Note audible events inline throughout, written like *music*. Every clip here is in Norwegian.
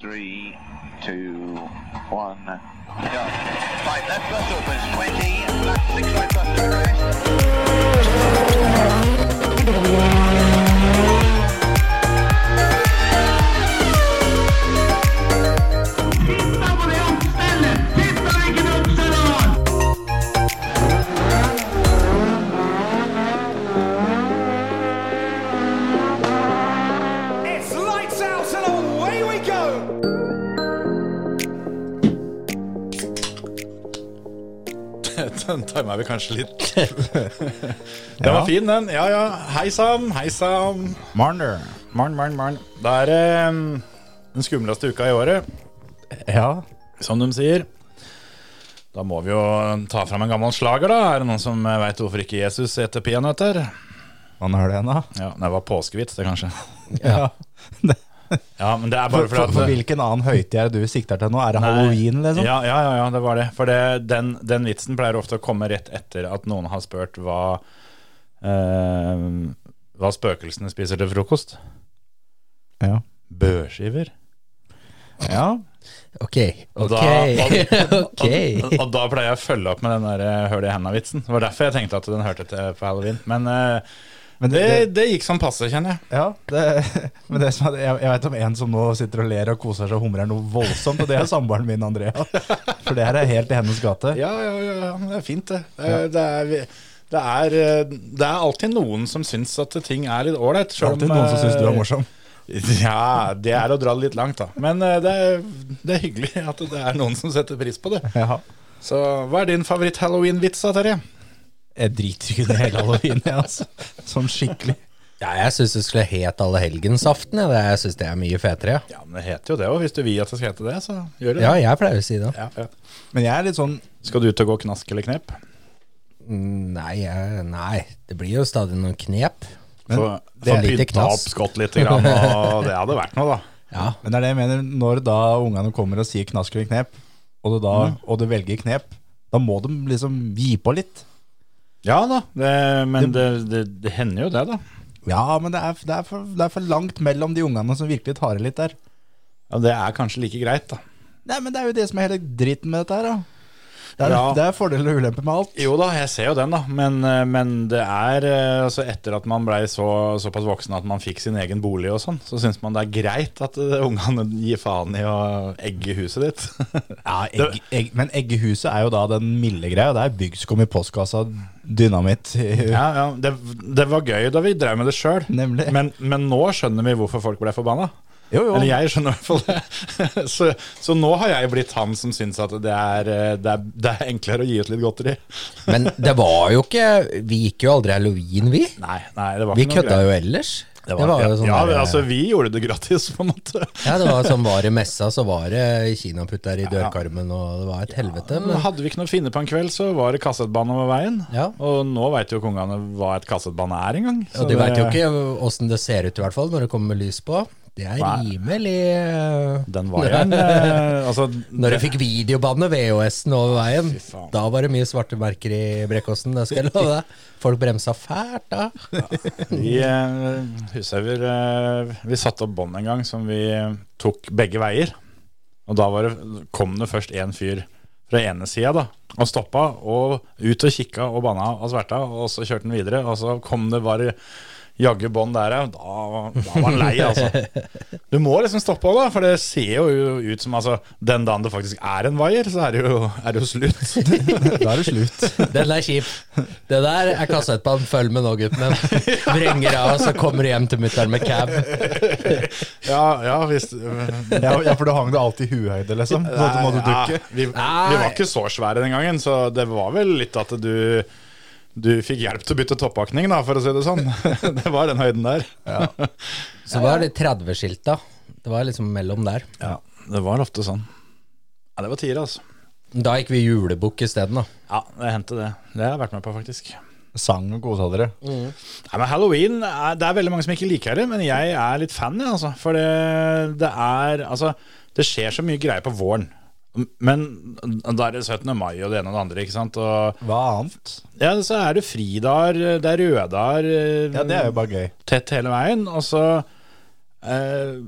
three, two, one, go. Right, left bus opens, 20, left six right bus to arrest. It's lights out and away we go! *laughs* Den tima vi kanskje litt. *laughs* Den var fin, den. Ja ja. Hei sann, hei sann. Marner. Marn, Marn, Marn. Det er eh, den skumleste uka i året, Ja. som de sier. Da må vi jo ta fram en gammel slager, da. Er det noen som veit hvorfor ikke Jesus eter peanøtter? Man har det ennå? Ja, det var påskevits, det, kanskje. Ja. Ja, men det er For, bare for, fordi for at hvilken annen høytid er det du sikter til nå? Er det Nei. halloween, liksom? Ja, ja, ja, ja, det sånn? var det. For det, den, den vitsen pleier ofte å komme rett etter at noen har spurt hva eh, Hva spøkelsene spiser til frokost. Ja. Børskiver. ja. Ok, Og ok, da- *laughs* *laughs* ok. Og, og da pleier jeg å følge opp med den der eh, høl i henda-vitsen. Det var derfor jeg tenkte at den hørte til på halloween. Men eh, Men det, det, det, det gikk som passe, kjenner jeg. ja, det, *laughs* men det som er, jeg, jeg vet om en som nå sitter og ler og koser seg og humrer noe voldsomt, og det er samboeren min, *laughs* Andrea. For det her er helt i hennes gate. Ja, ja, ja, ja, men det er fint, det. Det, er- det, er, vi- det, er, eh, det er alltid noen som syns at ting er litt ålreit. Det er alltid noen som eh, syns du er morsom. Ja, det er å dra det litt langt, da. Men eh, det er, det er hyggelig at det er noen som setter pris på det. Ja. Så hva er din favoritt-halloween-vits, da, Terje? Jeg driter ikke i hele halloween, jeg, altså. Sånn skikkelig. Ja, jeg syns det skulle hete allehelgensaften. Jeg, Det- jeg syns det er mye fetere. Ja, men det heter jo det òg. Hvis du vil at det skal hete det, så gjør Ja, jeg pleier å si det. Ja, ja. Men jeg er litt sånn Skal du ut og gå knask eller knep? Nei, jeg, nei, det blir jo stadig noen knep. Få For få lite pynta opp knask. skott litt, grann, og det hadde vært noe, da. Ja, Men det er det jeg mener, når da ungene kommer og sier knask eller knep, og du, da, Mm. og du velger knep, da må de liksom gi på litt. Ja da, det, men det, det, det hender jo det, da. Ja, men det er, det, er for, det er for langt mellom de ungene som virkelig tar i litt der. Ja, det er kanskje like greit, da. Nei, men det er jo det som er hele dritten med dette her, da. Det er, Ja. det er fordeler og ulemper med alt. Jo da, jeg ser jo den, da. Men, eh, men det er eh, altså Etter at man blei så, såpass voksen at man fikk sin egen bolig og sånn, så syns man det er greit at eh, ungene gir faen i å egge huset ditt. *laughs* Ja, egg, egg, men eggehuset er jo da den milde greia. Det er byggskum i postkassa, dynamitt *laughs* ja, ja, det, det var gøy da vi drev med det sjøl, Nemlig. men, men nå skjønner vi hvorfor folk ble forbanna. Jo, jo. Eller jeg skjønner i hvert fall det. *laughs* Så, så nå har jeg blitt han som syns at det er, eh, det, er, det er enklere å gi ut litt godteri. Men det var jo ikke Vi gikk jo aldri halloween, vi. Nei, nei det var Vi ikke noe kødda greit. jo ellers. Det var, ja, jo sånn ja, der- altså Vi gjorde det gratis, på en måte. ja, det var sånn var det messa, så var det kinaputter i dørkarmen, og det var et helvete. Men Men hadde vi ikke noe å finne på en kveld, så var det kassettbane over veien. Ja. Og nå veit jo kongene hva et kassettbane er engang. så Og de veit jo det- ikke åssen det ser ut, i hvert fall, når det kommer med lys på. Det er Nei. rimelig eh, Den var *laughs* jo en eh, Altså, Når jeg fikk videobandet VHS-en over veien, Fy faen. da var det mye svarte merker i Brekkåsen. Det skal jeg love deg. Folk bremsa fælt da. vi eh, hushauger eh, Vi satte opp bånd en gang som vi eh, tok begge veier. Og da var det, kom det først en fyr fra ene sida, da. Og stoppa, og ut og kikka og banna og sverta, og så kjørte han videre. Og så kom det bare jaggu bånd der òg. Da, da var han lei, altså. Du må liksom stoppe òg, da. For det ser jo ut som altså, Den dagen det faktisk er en vaier, så er det jo, er det jo slutt. *laughs* Da er det slutt. Den er kjip. Det der er kassettbånd. Følg med nå, gutten min. Vrenger av, så kommer du hjem til mutter'n med cab. Ja, ja, hvis Ja, ja, for du hang det alltid i huhøyde, *laughs* liksom. Så at du Nei, måtte dukke. Ja, vi, Nei. vi var ikke så svære den gangen, så det var vel litt at du du fikk hjelp til å bytte toppakning, da, for å si det sånn. *laughs* Det var den høyden der. Så var det 30-skilta. Det var liksom mellom der. Ja, det var ofte sånn. Ja, det var tiere, altså. Da gikk vi julebukk isteden, da. Ja, det hendte det. Det har jeg vært med på, faktisk. Sang og kosa dere. Nei, men Halloween, er, det er veldig mange som ikke liker det, men jeg er litt fan, jeg, altså. For det, det er Altså, det skjer så mye greier på våren. Men da er det 17. mai og det ene og det andre, ikke sant. Og Hva annet? ja, så er det fridager, det er røde dager. Ja, det er jo bare gøy. tett hele veien. Og så eh,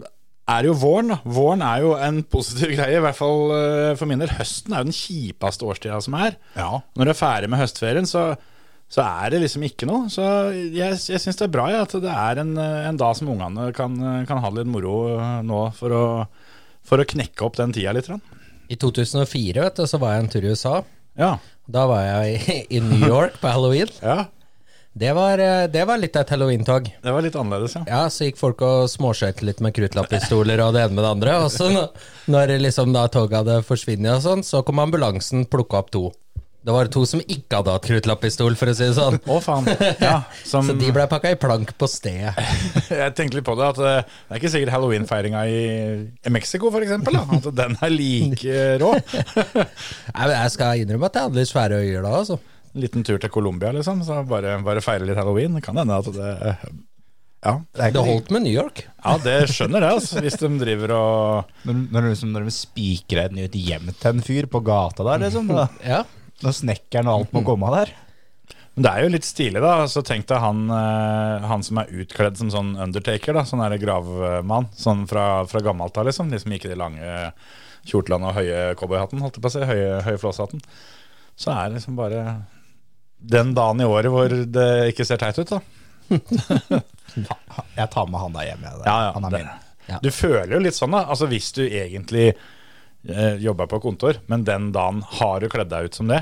er jo våren. da Våren er jo en positiv *laughs* greie, i hvert fall eh, for min del. Høsten er jo den kjipeste årstida som er. Ja. Når du er ferdig med høstferien, så, så er det liksom ikke noe. Så jeg, jeg syns det er bra ja, at det er en, eh, en dag som ungene kan, eh, kan ha det litt moro eh, nå, for å, for å knekke opp den tida litt. grann. I 2004 vet du, så var jeg en tur i USA. Ja. Da var jeg i, i *laughs* New York på halloween. ja. Det var, eh, det var litt av et halloween-tog. Det var litt annerledes, ja. Ja, så gikk folk og småskøyte litt med kruttlapppistoler og det ene med det andre. Og så når, når liksom da toget hadde forsvunnet og sånn, så kom ambulansen plukka opp to. Det var to som ikke hadde hatt kruttlappistol, for å si det sånn. Å, faen. *laughs* Ja, som, Så de blei pakka i plank på stedet. *laughs* jeg tenkte litt på det, at eh, det er ikke sikkert halloweenfeiringa i, i Mexico, for eksempel, da. At den er like rå. *laughs* Nei, men Jeg skal innrømme at jeg hadde litt svære øyer da, altså. En liten tur til Colombia, liksom. Så bare, bare feire litt halloween. Det Kan hende at det Ja, Det er Det ikke holdt med New York. ja det skjønner jeg, altså. Hvis de driver og Når, når, du liksom, når de spikrer et nytt hjem til en fyr på gata der, liksom. Da. *laughs* Ja. Når snekkeren og alt må komme av der. Men det er jo litt stilig, da. Så tenk deg han, eh, han som er utkledd som sånn undertaker, da. Sånn er det gravmann. Sånn fra, fra gammelt av, liksom. De som gikk i de lange kjortlene og høye cowboyhatten, holdt jeg på å si. Høye, høye flåshatten. Så er det liksom bare den dagen i året hvor det ikke ser teit ut, da. Jeg tar med han der hjem, jeg. der. Ja, ja, han er det- min. Ja. Du føler jo litt sånn, da. Altså Hvis du egentlig eh, jobber på kontor, men den dagen har du kledd deg ut som det,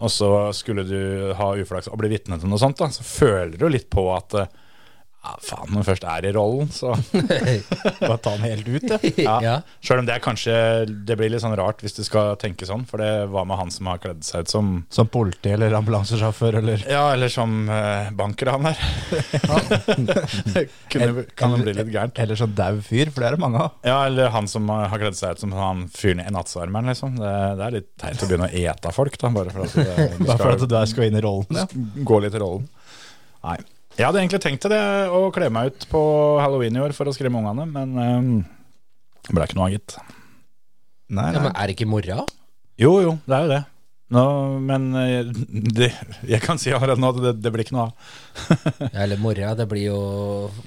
og så skulle du ha uflaks og bli vitne til noe sånt, da, så føler du litt på at eh, ja, faen, når du først er i rollen, så *laughs* Bare ta han helt ut, jeg. ja. Ja. Sjøl om det er kanskje Det blir litt sånn rart hvis du skal tenke sånn, for det var med han som har kledd seg ut som Som politi eller ambulansesjåfør eller ja, eller som eh, bankraner. *laughs* Kunne- kan det bli litt gærent. Eller sånn dau fyr, for det er det mange av. Ja, eller han som har kledd seg ut som han fyren i nattsvermeren, liksom. Det, det er litt teit å begynne å ete folk, da, bare for at *laughs* det, du Bare for at skal du der skal inn i rollen. Ja. gå litt i rollen. Nei. Jeg hadde egentlig tenkt til det, å kle meg ut på halloween i år for å skremme ungene, men um, det ble ikke noe av, gitt. Nei, ja, nei. men er det ikke mora? Jo, jo, det er jo det. Nå, men eh, det, jeg kan si allerede nå at det, det blir ikke noe av. Eller mora, det blir jo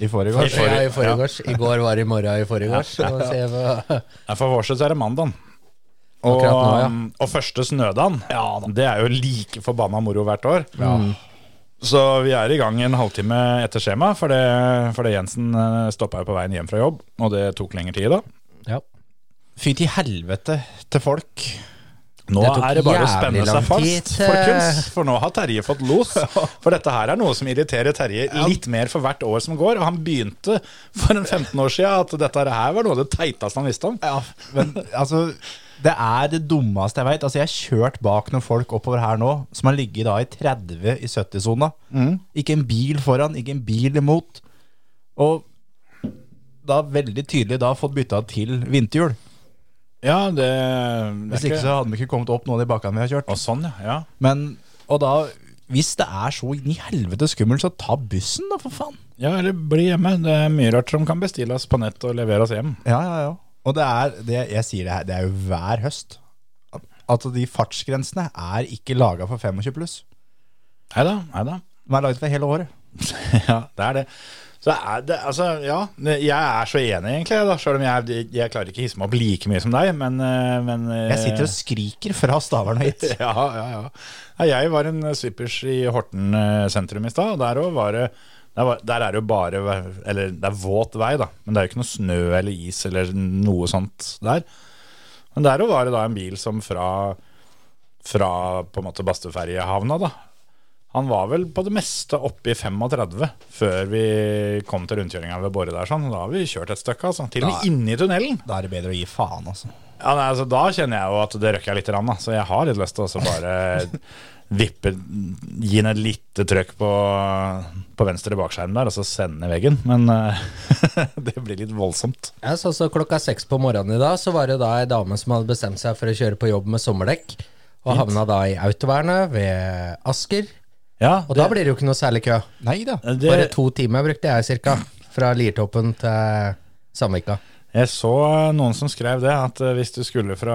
I forrige år. ja, i forgårs. I går var det i morgen i forgårs. så må vi se hva- Nei, For vår side så er det mandagen. Og, Akkurat nå, ja. um, og første snødagen, det er jo like forbanna moro hvert år. Mm. Så vi er i gang en halvtime etter skjema, for det, for det Jensen stoppa jo på veien hjem fra jobb, og det tok lengre tid da. *laughs* Ja. Fy til helvete til folk. Nå Det tok er det bare å jævlig spenne lang seg fast, tid, eh. folkens. For nå har Terje fått los. For dette her er noe som irriterer Terje litt mer for hvert år som går. Og han begynte for en 15 år siden at dette her var noe av det teiteste han visste om. Ja, men altså Det er det dummeste jeg veit. Altså, jeg har kjørt bak noen folk oppover her nå som har ligget da i 30 i 70-sona. Ikke en bil foran, ikke en bil imot. Og da veldig tydelig da fått bytta til vinterhjul. Ja, det, det er Hvis ikke så hadde vi ikke kommet opp noen av de bakkene vi har kjørt. Og sånn, ja. ja. Men, og da, hvis det er så inn i helvete skummelt, så ta bussen, da, for faen. Ja, eller bli hjemme. Det er mye rart som kan bestilles på nett og leveres hjem. Ja, ja, ja. Og det er, det, jeg sier det her, det er jo hver høst. Altså, de fartsgrensene er ikke laga for 25 pluss. Nei da, nei *laughs* da. De er laget for hele året. Ja, det er det. Så er det, altså, ja, jeg er så enig egentlig, da, selv om jeg, jeg klarer ikke å hisse meg opp like mye som deg, men, eh, men eh, Jeg sitter og skriker fra Stavern og hit. *laughs* Ja, ja, ja. Nei, Jeg var en eh, svippers i Horten eh, sentrum i stad, og der òg var det der, var, der er det jo bare Eller det er våt vei, da, men det er jo ikke noe snø eller is eller noe sånt der. Men der òg var det da en bil som fra, fra på en måte Bastøferjehavna, da. Han var vel på det meste oppe i 35 før vi kom til rundkjøringa ved Båre der. sånn. Da har vi kjørt et stykke, altså. Til og med inne i tunnelen. Da er det bedre å gi faen, altså. Ja, nei, altså, da kjenner jeg jo at det røkker jeg litt, rann, da. så jeg har litt lyst til å så *laughs* bare vippe Gi den et lite trøkk på, på venstre bakskjerm der, og så sende den i veggen. Men eh, *laughs* det blir litt voldsomt. Ja, så, så klokka seks på morgenen i dag, så var det da ei dame som hadde bestemt seg for å kjøre på jobb med sommerdekk, og havna da i autovernet ved Asker. Ja, Og da blir det jo ikke noe særlig kø. Nei da. det, Bare to timer brukte jeg cirka, fra Liertoppen til Sandvika. Jeg så noen som skrev det, at eh, hvis du skulle fra,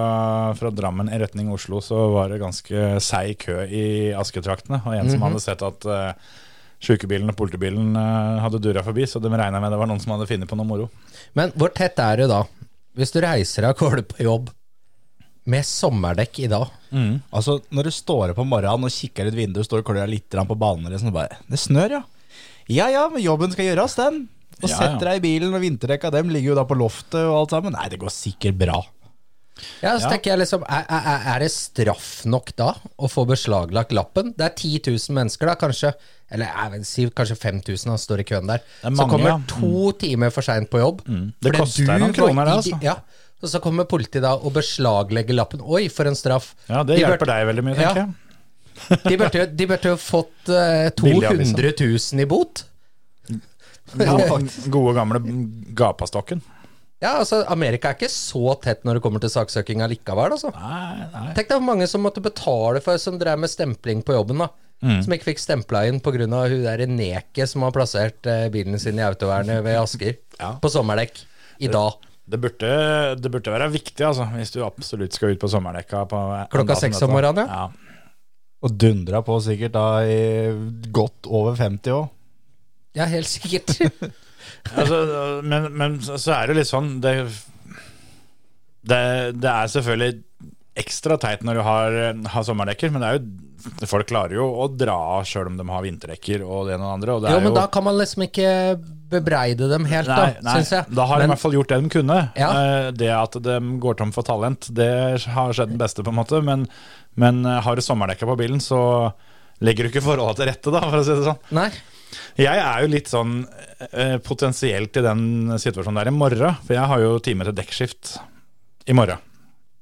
fra Drammen i retning Mhm. Oslo, så var det ganske seig kø i Asketraktene. Og en som hadde sett at eh, Sjukebilen og politibilen eh, hadde dura forbi, så de regna med det var noen som hadde funnet på noe moro. Men hvor tett er du da? Hvis du reiser av gårde på jobb med sommerdekk i dag Mm. Altså, når du står opp om morgenen og kikker ut vinduet, står og klør litt grann på banen, eller sånn, og bare, det snør, ja. Ja, ja, men jobben skal gjøres, den. Og Ja, ja. setter deg i bilen, og vinterdekka dem ligger jo da på loftet og alt sammen. Nei, det går sikkert bra. Ja, så tenker jeg liksom er, er, er- er det straff nok da å få beslaglagt lappen? Det er 10 000 mennesker da, kanskje. Eller jeg vil si kanskje 5000 da, står i køen der. er mange, så kommer ja. Mm. to timer for seint på jobb. Det Fordi koster deg du noen kroner, var det, i- altså. Ja, og så kommer politiet da og beslaglegger lappen. Oi, for en straff. Ja, Det De hjelper burde- deg veldig mye, Ja. tenker jeg. De burde, jo- de burde jo fått eh, Billig av 200 000 i bot. Gode, *laughs* gode gamle gapastokken. Ja, altså Amerika er ikke så tett når det kommer til saksøking allikevel, altså. Nei, nei. Tenk deg hvor mange som måtte betale for som drev med stempling på jobben, da. Som ikke fikk stempla inn pga. hun der neket som har plassert eh, bilen sin i autovernet ved Asker. På sommerdekk. I dag. Det burde, det burde være viktig, altså, hvis du absolutt skal ut på sommerdekka. På en Klokka dag som seks dette. om morgenen, ja. Og dundra på sikkert da i godt over 50 år. Ja, helt *laughs* sikkert. Altså, men, men så så er det litt sånn det, det, det er selvfølgelig ekstra teit når du har, har sommerdekker, men det er jo, folk klarer jo å dra av sjøl om de har vinterdekker og det ene og det andre. Og det Jo, er men jo, da kan man liksom ikke bebreide dem helt, da, Nei, nei, syns jeg. da har de i men, hvert fall gjort det de kunne. Ja. Eh, Det at de går tom for talent, det har skjedd den beste, på en måte. Men, men eh, har du sommerdekka på bilen, så legger du ikke forholda til rette, da, for å si det sånn. nei. Jeg er jo litt sånn eh, potensielt i den situasjonen der i morgen, for jeg har jo time til dekkskift i morgen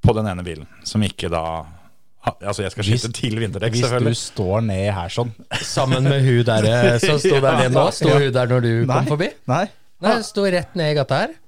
på den ene bilen, som ikke da ha- Altså, jeg skal skifte Hvis- til vinterdekk, Hvis du selvfølgelig. står ned her *laughs* sånn. Sammen med hun der eh, *laughs* som sto der Ja. nede nå. Sto hun der når du kom forbi? Nei. Nei, hun sto rett ned i gata her.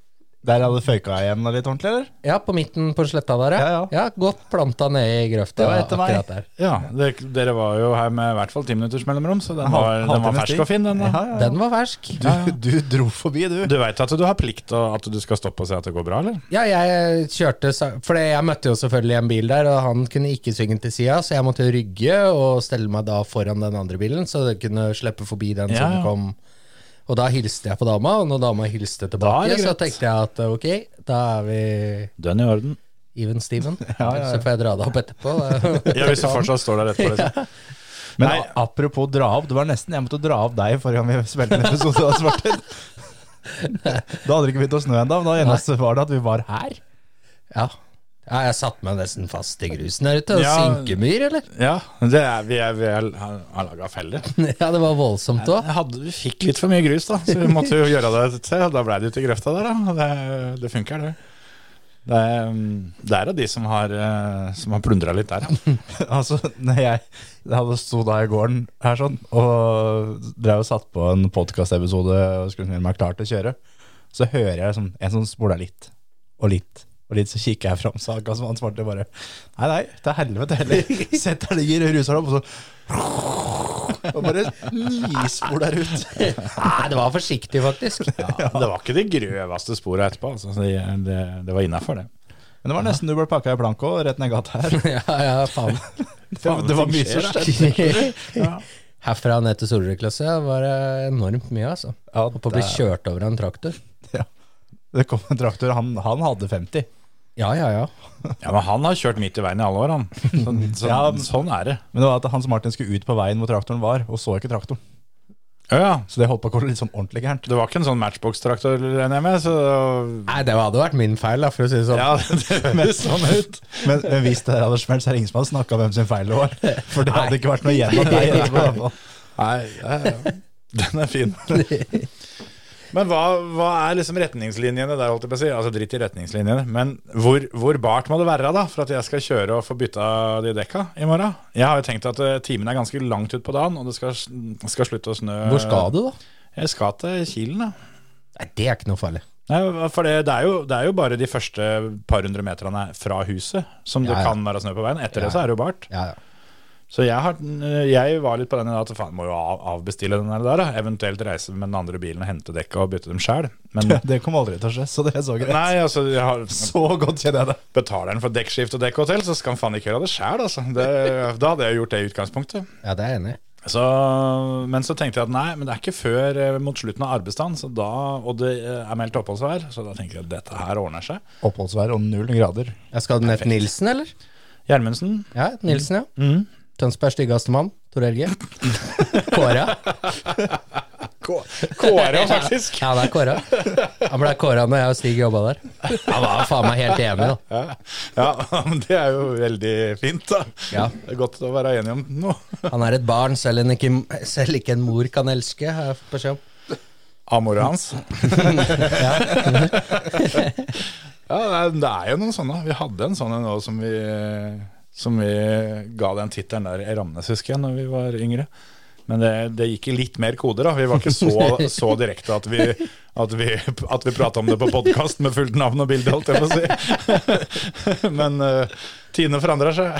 Der hadde føyka igjen litt ordentlig, eller? Ja, på midten på sletta der, Ja, ja. Godt planta ned i grøfta. Det var etter meg. akkurat der. Ja, det, dere var jo her med i hvert fall ti minutters mellomrom, så den var, Halv- den var halvtimes tid. fersk og fin, den. da. Ja, ja, ja. Den var fersk. Du, du dro forbi, du. Du veit at du har plikt og at du skal stoppe og se at det går bra, eller? Ja, jeg kjørte sa- For jeg møtte jo selvfølgelig en bil der, og han kunne ikke svinge til sida, så jeg måtte rygge og stelle meg da foran den andre bilen, så jeg kunne slippe forbi den Ja, ja. som kom. Og da hilste jeg på dama, og når dama hilste Da er tilbake, det så greit. tenkte jeg at ok, da er vi Den i orden. *laughs* even Steven. Ja, ja, ja. Så får jeg dra det opp etterpå. Ja, Hvis du fortsatt står der etterpå. Liksom. Men Nei. a- apropos dra opp, det var nesten jeg måtte dra opp deg forrige gang vi spilte en episode av Svarter. da hadde det ikke begynt å snø ennå, men da eneste var det at vi var her. Ja. ja, jeg satte meg nesten fast i grusen her ute. Og Ja. Sinkemyr, eller? *laughs* Ja, det er, vi, er, vi er, har laga feller. Ja, det var voldsomt *laughs* òg. Jeg hadde- Vi fikk litt for mye grus, da, så vi måtte jo gjøre det til. og Da blei det ute i grøfta der, da. og Det, det funker, det. Det er, um, det er av de som har, eh, som har plundra litt der, ja. *laughs* Altså, når jeg, jeg hadde sto da i gården her sånn, og sånn, drev og satt på en podcastepisode og skulle gjøre meg klar til å kjøre, så hører jeg sånn, en som spoler litt, og litt, og litt, så kikker jeg fram saka, som han svarte bare, nei, nei, til helvete heller. Setter deg i ruser opp, og så... Og bare nispoler ut. Nei, det var forsiktig, faktisk. Det var ikke de grøveste spora etterpå, altså. så Det, det, det var innafor, det. Men det var nesten du ble pakka i plank òg, rett ned gata her. *laughs* Ja, ja, faen. *laughs* Det, det var mye som skjedde. *laughs* Herfra ned til Solrød-klasse var det enormt mye, altså. Ja, Og på å bli kjørt over av en traktor. Ja. Det kom en traktor, han, han hadde 50. Ja, ja, ja. Ja, men han har kjørt midt i veien i alle år, han. Så, så, Ja, men- sånn er det. Men det var at Hans Martin skulle ut på veien hvor traktoren var, og så ikke traktoren. Ja, ja. Så det holdt på å gå litt sånn ordentlig gærent. Det var ikke en sånn matchbox-traktor, regner jeg med, så Nei, det hadde vært min feil, da, for å si det sånn. *laughs* Ja, det høres sånn ut. Men, men hvis det her hadde smelt, så er det ingen som hadde snakka om hvem sin feil det var. For det hadde ikke vært noe *laughs* igjen av deg. etterpå, i hvert fall. Nei, ja, ja. den er fin. Men hva, hva er liksom retningslinjene der, holdt jeg på å si? Altså dritt i retningslinjene. Men hvor, hvor bart må det være da, for at jeg skal kjøre og få bytta de dekka i morgen? Jeg har jo tenkt at eh, timen er ganske langt ut på dagen, og det skal, skal slutte å snø. Hvor skal du, da? Jeg skal til Kilen, da. Nei, det er ikke noe farlig. Nei, for det, det, er jo, det er jo bare de første par hundre meterne fra huset som Ja, det ja. kan være snø på veien. Etter Ja, det så er det jo bart. Ja, ja. Så jeg, har, eh, jeg var litt på den i dag at faen, må jo av, avbestille den der, da. Eventuelt reise med den andre bilen og hente dekka og bytte dem sjæl. Men *laughs* Det kom aldri til å skje, så det er så greit. nei, altså, jeg har, Så godt kjenner jeg det. betaler den for dekkskift og dekkhotell, så skal han faen ikke gjøre det sjæl, altså. Det, da hadde jeg gjort det i utgangspunktet. ja det er jeg enig i. Så, men så tenkte jeg at nei, men det er ikke før eh, mot slutten av arbeidsdagen, så da, og det eh, er meldt oppholdsvær, så da tenkte jeg at dette her ordner seg. Oppholdsvær om null grader. Jeg skal ned til Nilsen, eller? Gjermundsen, Ja, Nilsen, ja. Tønsbergs styggeste mann, Tor Helge. Kåra. Kåre faktisk. Ja, det er Kåra. Han ble Kåra når jeg og Stig jobba der. Han var faen meg helt enig, da. Ja, *laughs* men det er jo veldig fint, da. Ja. Det er godt å være enig om noe. *laughs* Han er et barn selv, en ikke, selv ikke en mor kan elske, har jeg fått beskjed om. Amora hans. *laughs* Ja, det er, det er jo noen sånne. Vi hadde en sånn en nå som vi som vi ga den tittelen der i Ramnes, husker jeg, når vi var yngre. Men det, det gikk i litt mer koder, da. Vi var ikke så, så direkte at vi, at vi, at vi prata om det på podkast med fullt navn og bilde, holdt jeg på å si. *laughs* Men eh, Tine forandrer seg.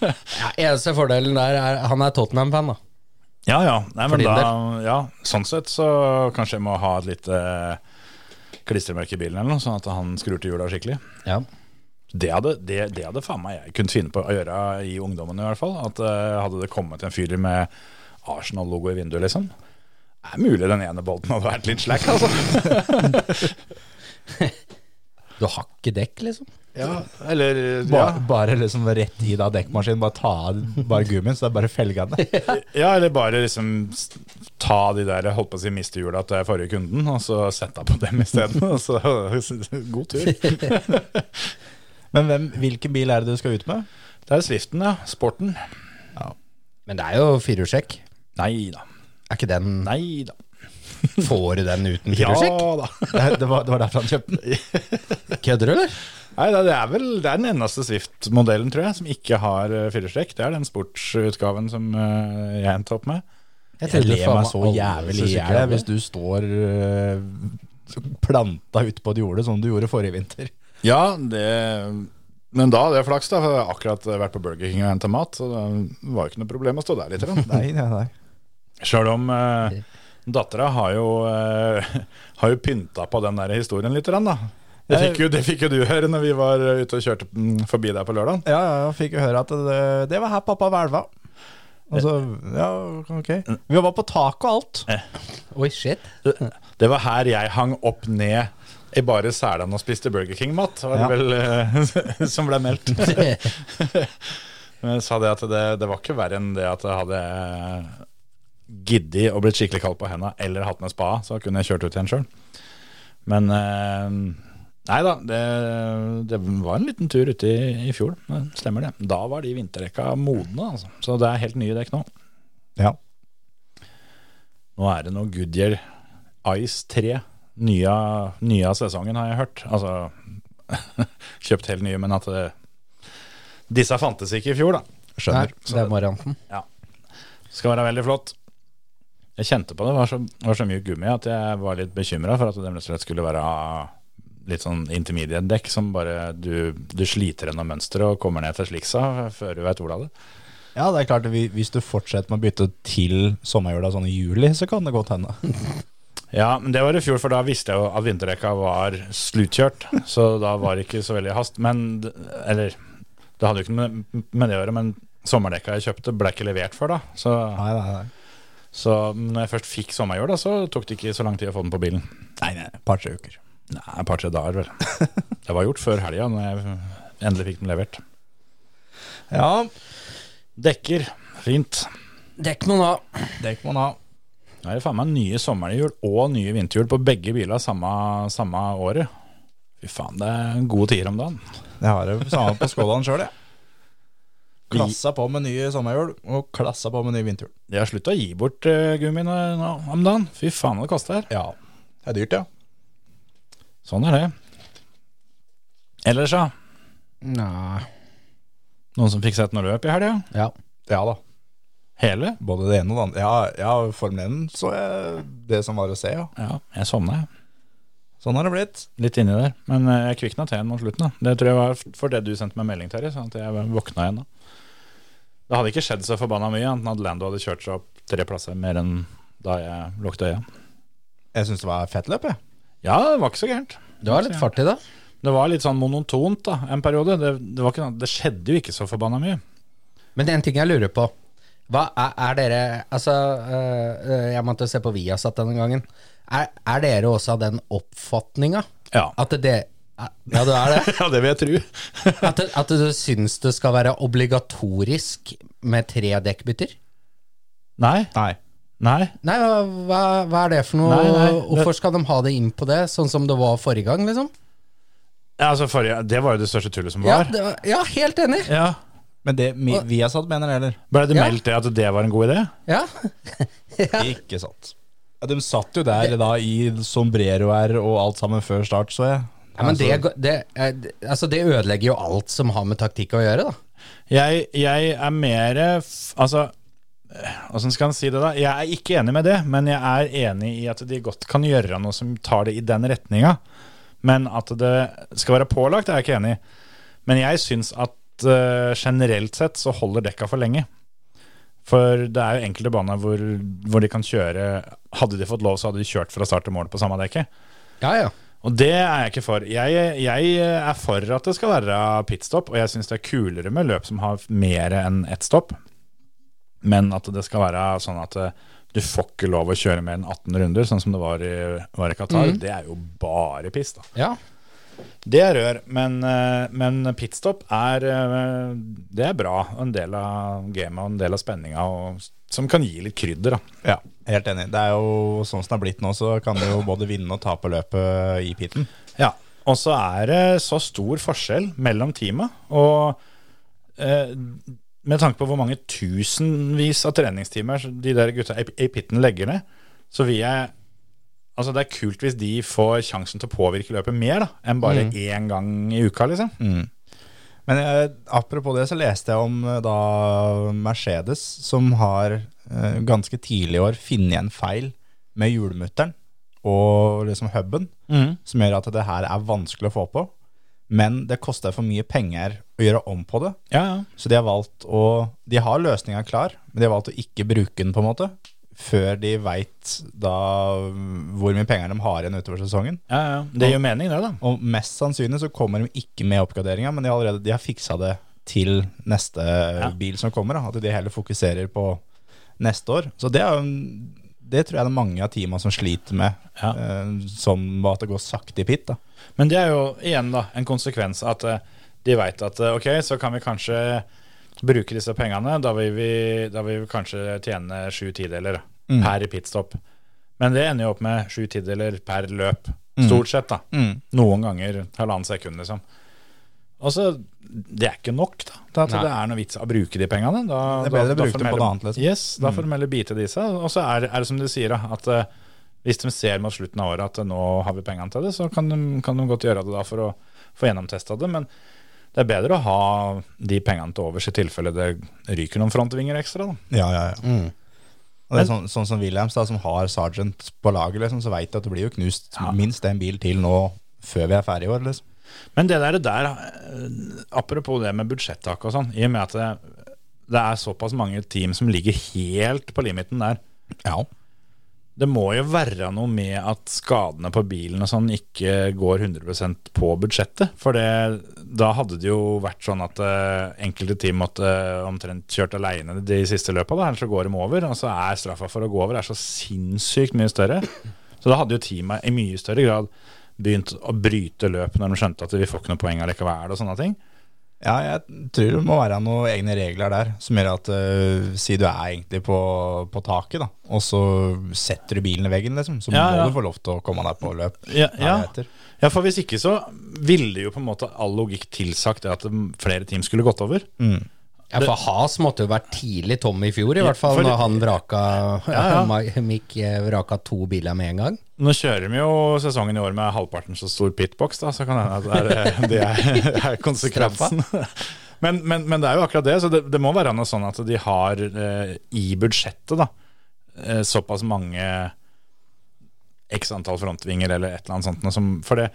Ja, eneste fordelen der er han er Tottenham-fan, da. Ja, ja. Nei, For men din da, ja. Sånn sett så kanskje jeg må ha et lite klistremerke i bilen eller noe, sånn at han skrur til hjula skikkelig. Ja. Det hadde, det, det hadde faen meg jeg kunne finne på å gjøre i ungdommen i hvert fall. At eh, hadde det kommet en fyr med Arsenal-logo i vinduet, liksom. Det er mulig den ene bolten hadde vært litt slack, altså. Du har ikke dekk, liksom. Ja, eller ja. Bare, bare liksom rett i da dekkmaskinen, bare ta av bare gummien, så det er bare *laughs* felgene. ja, eller bare liksom s- ta de der holdt på å si mistehjula til forrige kunden, og så sette på dem isteden. *laughs* og så- God tur. Men hvem, hvilken bil er det du skal ut med? Det er Swiften, ja. Sporten. Men det er jo firehjulstrekk. Nei da. Er ikke den Nei da. Får du den uten Ja firehjulstrekk? da. Det, det, var, det var derfor han kjøpte den. Kødder du, eller? Nei, da, det er vel det er den eneste Swift-modellen, tror jeg, som ikke har eh, firestrekk. Det er den sportsutgaven som eh, jeg endte opp med. Jeg Jeg trodde ler faen meg så alle jævlig synes i ikke hjel det. hvis du står øh, planta ut på et jorde som du gjorde forrige vinter. Ja, det Men da hadde jeg flaks, da. For jeg hadde akkurat vært på Burger King og henta mat. Så det var jo ikke noe problem å stå der litt. *laughs* Nei, nei, nei. Sjøl om uh, dattera har jo, eh, har jo pynta på den der historien litt, da. Det fikk, jo, det fikk jo du høre når vi var ute og kjørte mm, forbi der på lørdag. Ja, ja, jeg fikk jo høre at det, det var her pappa hvelva. Og så, ja, ok. Vi var på tak og alt. Oi, shit. Det var her jeg hang opp ned i bare selene og spiste Burger King-mat, var det Ja. vel eh, *laughs* som ble meldt. Men jeg sa det at det, det var ikke verre enn det at jeg hadde eh, giddet å blitt skikkelig kald på henda eller hatt med spa, så kunne jeg kjørt ut igjen sjøl. Men eh, Nei da, det, det var en liten tur ute i, i fjor, men stemmer det. Da var de vinterdekka modne, altså. Så det er helt nye dekk nå. Ja. Nå er det noe Goodyear Ice 3. Nye, nye av sesongen, har jeg hørt. Altså *laughs* kjøpt helt nye, men at det, disse fantes ikke i fjor, da. Nei, Skjønner. det er varianten. Skal være veldig flott. Jeg kjente på det. var så, var så mye gummi at jeg var litt bekymra for at det rett og slett skulle være litt sånn intermediate-dekk som bare du, du sliter gjennom mønsteret og kommer ned til sliksa før du veit ordet av det. Ja, det er klart, vi- hvis du fortsetter med å bytte til sommerjula sånn i juli, så kan det godt hende. Ja, men det var i fjor, for da visste jeg jo at vinterdekka var *laughs* slutkjørt. Så da var det ikke så veldig hast. Men d- Eller, det hadde jo ikke med, med det å gjøre, men sommerdekka jeg kjøpte, ble ikke levert før da. Så, Nei, nei, nei. så når jeg først fikk sommerjord, da, så tok det ikke så lang tid å få den på bilen. Nei, nei, et par-tre uker. Nei, et par-tre dager, vel. Det var gjort før helga, når jeg endelig fikk den levert. Ja, Dekker. Fint. Dekk noen av. det kan man ha. Nå er det faen meg nye sommerhjul og nye vinterhjul på begge biler samme, samme året. Fy faen, det er gode tider om dagen. Jeg har det samme på skålene sjøl, jeg. Klassa på med nye sommerhjul og klassa på med nye vinterhjul. De har slutta å gi bort uh, gummi nå, nå om dagen. Fy faen, det koster. Ja. Det er dyrt, ja. Sånn er det. Ellers, ja. Nei. Noen som fikk sett noe løp i helga? Ja. Ja da. Hele? Både det ene og det andre. Ja, ja Formel 1 så jeg det som var å se, ja. Ja, jeg sovna, jeg. Sånn har det blitt. Litt inni der. Men eh, jeg kvikna til mot slutten. da Det tror jeg var f- for det du sendte meg melding, Terje. Sånn at jeg våkna igjen da. Det hadde ikke skjedd så forbanna mye, annet enn at Lando hadde kjørt seg opp tre plasser mer enn da jeg lukket øya. Jeg syns det var fett løp, jeg. Ja, det var ikke så gærent. Du har litt fart i det. Det var litt sånn monotont da, en periode. Det, det, var ikke, noe- det skjedde jo ikke så forbanna mye. Men det er en ting jeg lurer på. Hva er, er dere Altså, øh, øh, jeg måtte se på Viasat denne gangen. Er, er dere også av den oppfatninga Ja. *laughs* at det Ja, du er det? Ja, det vil jeg tro. At, det- at du syns det skal være obligatorisk med tre dekkbytter? Nei. Nei. Nei. Nei, hva, hva- hva er det for noe? Nei, nei, det- Hvorfor skal de ha det inn på det, sånn som det var forrige gang, liksom? Ja, altså, forrige, det var jo det største tullet som Ja, var. det, var- ja helt enig. Ja. Men det mi- vi har satt mener det, eller? Ble det Ja. meldt det at det var en god idé? Ja. ja. Ikke sant. Ja, de satt jo der da i sombreroer og alt sammen før start, så jeg. Ja, men det, går- det, er- altså det ødelegger jo alt som har med taktikk å gjøre, da. Jeg, jeg er mer f- Altså, åssen skal en si det, da? Jeg er ikke enig med det, men jeg er enig i at de godt kan gjøre noe som tar det i den retninga. Men at det skal være pålagt, er jeg ikke enig i. Men jeg syns at eh, generelt sett så holder dekka for lenge. For det er jo enkelte baner hvor, hvor de kan kjøre Hadde de fått lov, så hadde de kjørt fra start til mål på samme dekket. Ja, ja. Og det er jeg ikke for. Jeg, jeg er for at det skal være pitstop, og jeg syns det er kulere med løp som har mer enn ett stopp. Men at det skal være sånn at eh, du får ikke lov å kjøre mer enn 18 runder, sånn som det var i, var i Qatar. Det er jo bare piss, da. ja. Det er rør, men, eh, men pitstop er eh, Det er bra. og En del av gamet og en del av spenninga og- som kan gi litt krydder, da. Ja, helt enig. Det er jo sånn som det har blitt nå, så kan du jo både vinne og tape løpet i piten. Ja, og så er det så stor forskjell mellom teama, og eh, med tanke på hvor mange tusenvis av treningstimer de der gutta i i pitten legger ned, så vil jeg Altså Det er kult hvis de får sjansen til å påvirke løpet mer da enn bare én gang i uka. liksom Men eh, apropos det, så leste jeg om eh, da Mercedes, som har eh, ganske tidlig i år funnet en feil med hjulmutteren og liksom huben, Mm. som gjør at det her er vanskelig å få på. Men det koster for mye penger å gjøre om på det. Ja, ja. Så de har valgt å De har løsninga klar, men de har valgt å ikke bruke den, på en måte. Før de veit da hvor mye penger de har igjen utover sesongen. ja, ja. Det gir jo mening, det, da. Og mest sannsynlig så kommer de ikke med oppgraderinga, men de har allerede de har fiksa det til neste bil som kommer. Da. At de heller fokuserer på neste år. Så det, er, jo en- det tror jeg det er mange av teama som sliter med, Ja. eh, som at det går sakte i pit. Da. Men det er jo igjen da en konsekvens at eh, de veit at eh, ok, så kan vi kanskje bruke disse pengene. Da vil vi, da vil vi kanskje tjene sju tideler per pitstop. Men det ender jo opp med sju tideler per løp. Mm. Stort sett, da. Noen ganger halvannen sekund, liksom. Og så, Det er ikke nok da til at Nei. det er noe vits å bruke de pengene. Da, Det er da- bedre å da bruke får dem på heller- noe annet, liksom. Yes, da får de heller bite det i seg. Og så er, er det som du sier, da, at eh, hvis de ser mot slutten av året at eh, nå har vi pengene til det, så kan de, kan de godt gjøre det da for å få gjennomtesta det. Men det er bedre å ha de pengene til overs i tilfelle det ryker noen frontvinger ekstra. Da. Ja, ja, ja. Og det er sånn, sånn som Williams, da, som har Sergeant på laget, liksom, så veit du at det blir jo knust minst en bil til nå før vi er ferdig i år. Liksom. Men det der, der eh, apropos det med budsjettak og sånn, i og med at det, det er såpass mange team som ligger helt på limiten der. Ja. Det må jo være noe med at skadene på bilen og sånn ikke går 100 på budsjettet. For det, da hadde det jo vært sånn at eh, enkelte team måtte eh, omtrent kjørt aleine de siste løpa, da, ellers så går de over. Og så er straffa for å gå over er så sinnssykt mye større. Så da hadde jo teama i mye større grad begynt å bryte løp når de skjønte at vi får ikke noe poeng allikevel og sånne ting. Ja, jeg tror det må være noen egne regler der som gjør at øh, si du er egentlig på, på taket, da, og så setter du bilen i veggen, liksom, så Ja, må ja. du få lov til å komme deg på løp. Ja, Hva ja. det heter. ja, for hvis ikke så ville det jo på en måte all logikk tilsagt det at flere team skulle gått over. Ja, for Has måtte jo vært tidlig tom i fjor, i hvert fall, for- når han vraka Ja, ja. *laughs* Ma- Mick eh, vraka to biler med en gang. Nå kjører vi jo sesongen i år med halvparten så stor pitbox, da, så kan det hende at det er, *laughs* det er, er konsekvensen. Men, men, men det er jo akkurat det, så det, det må være noe sånn at de har eh, i budsjettet da, eh, såpass mange x antall frontvinger eller et eller annet sånt. noe Som, for, det,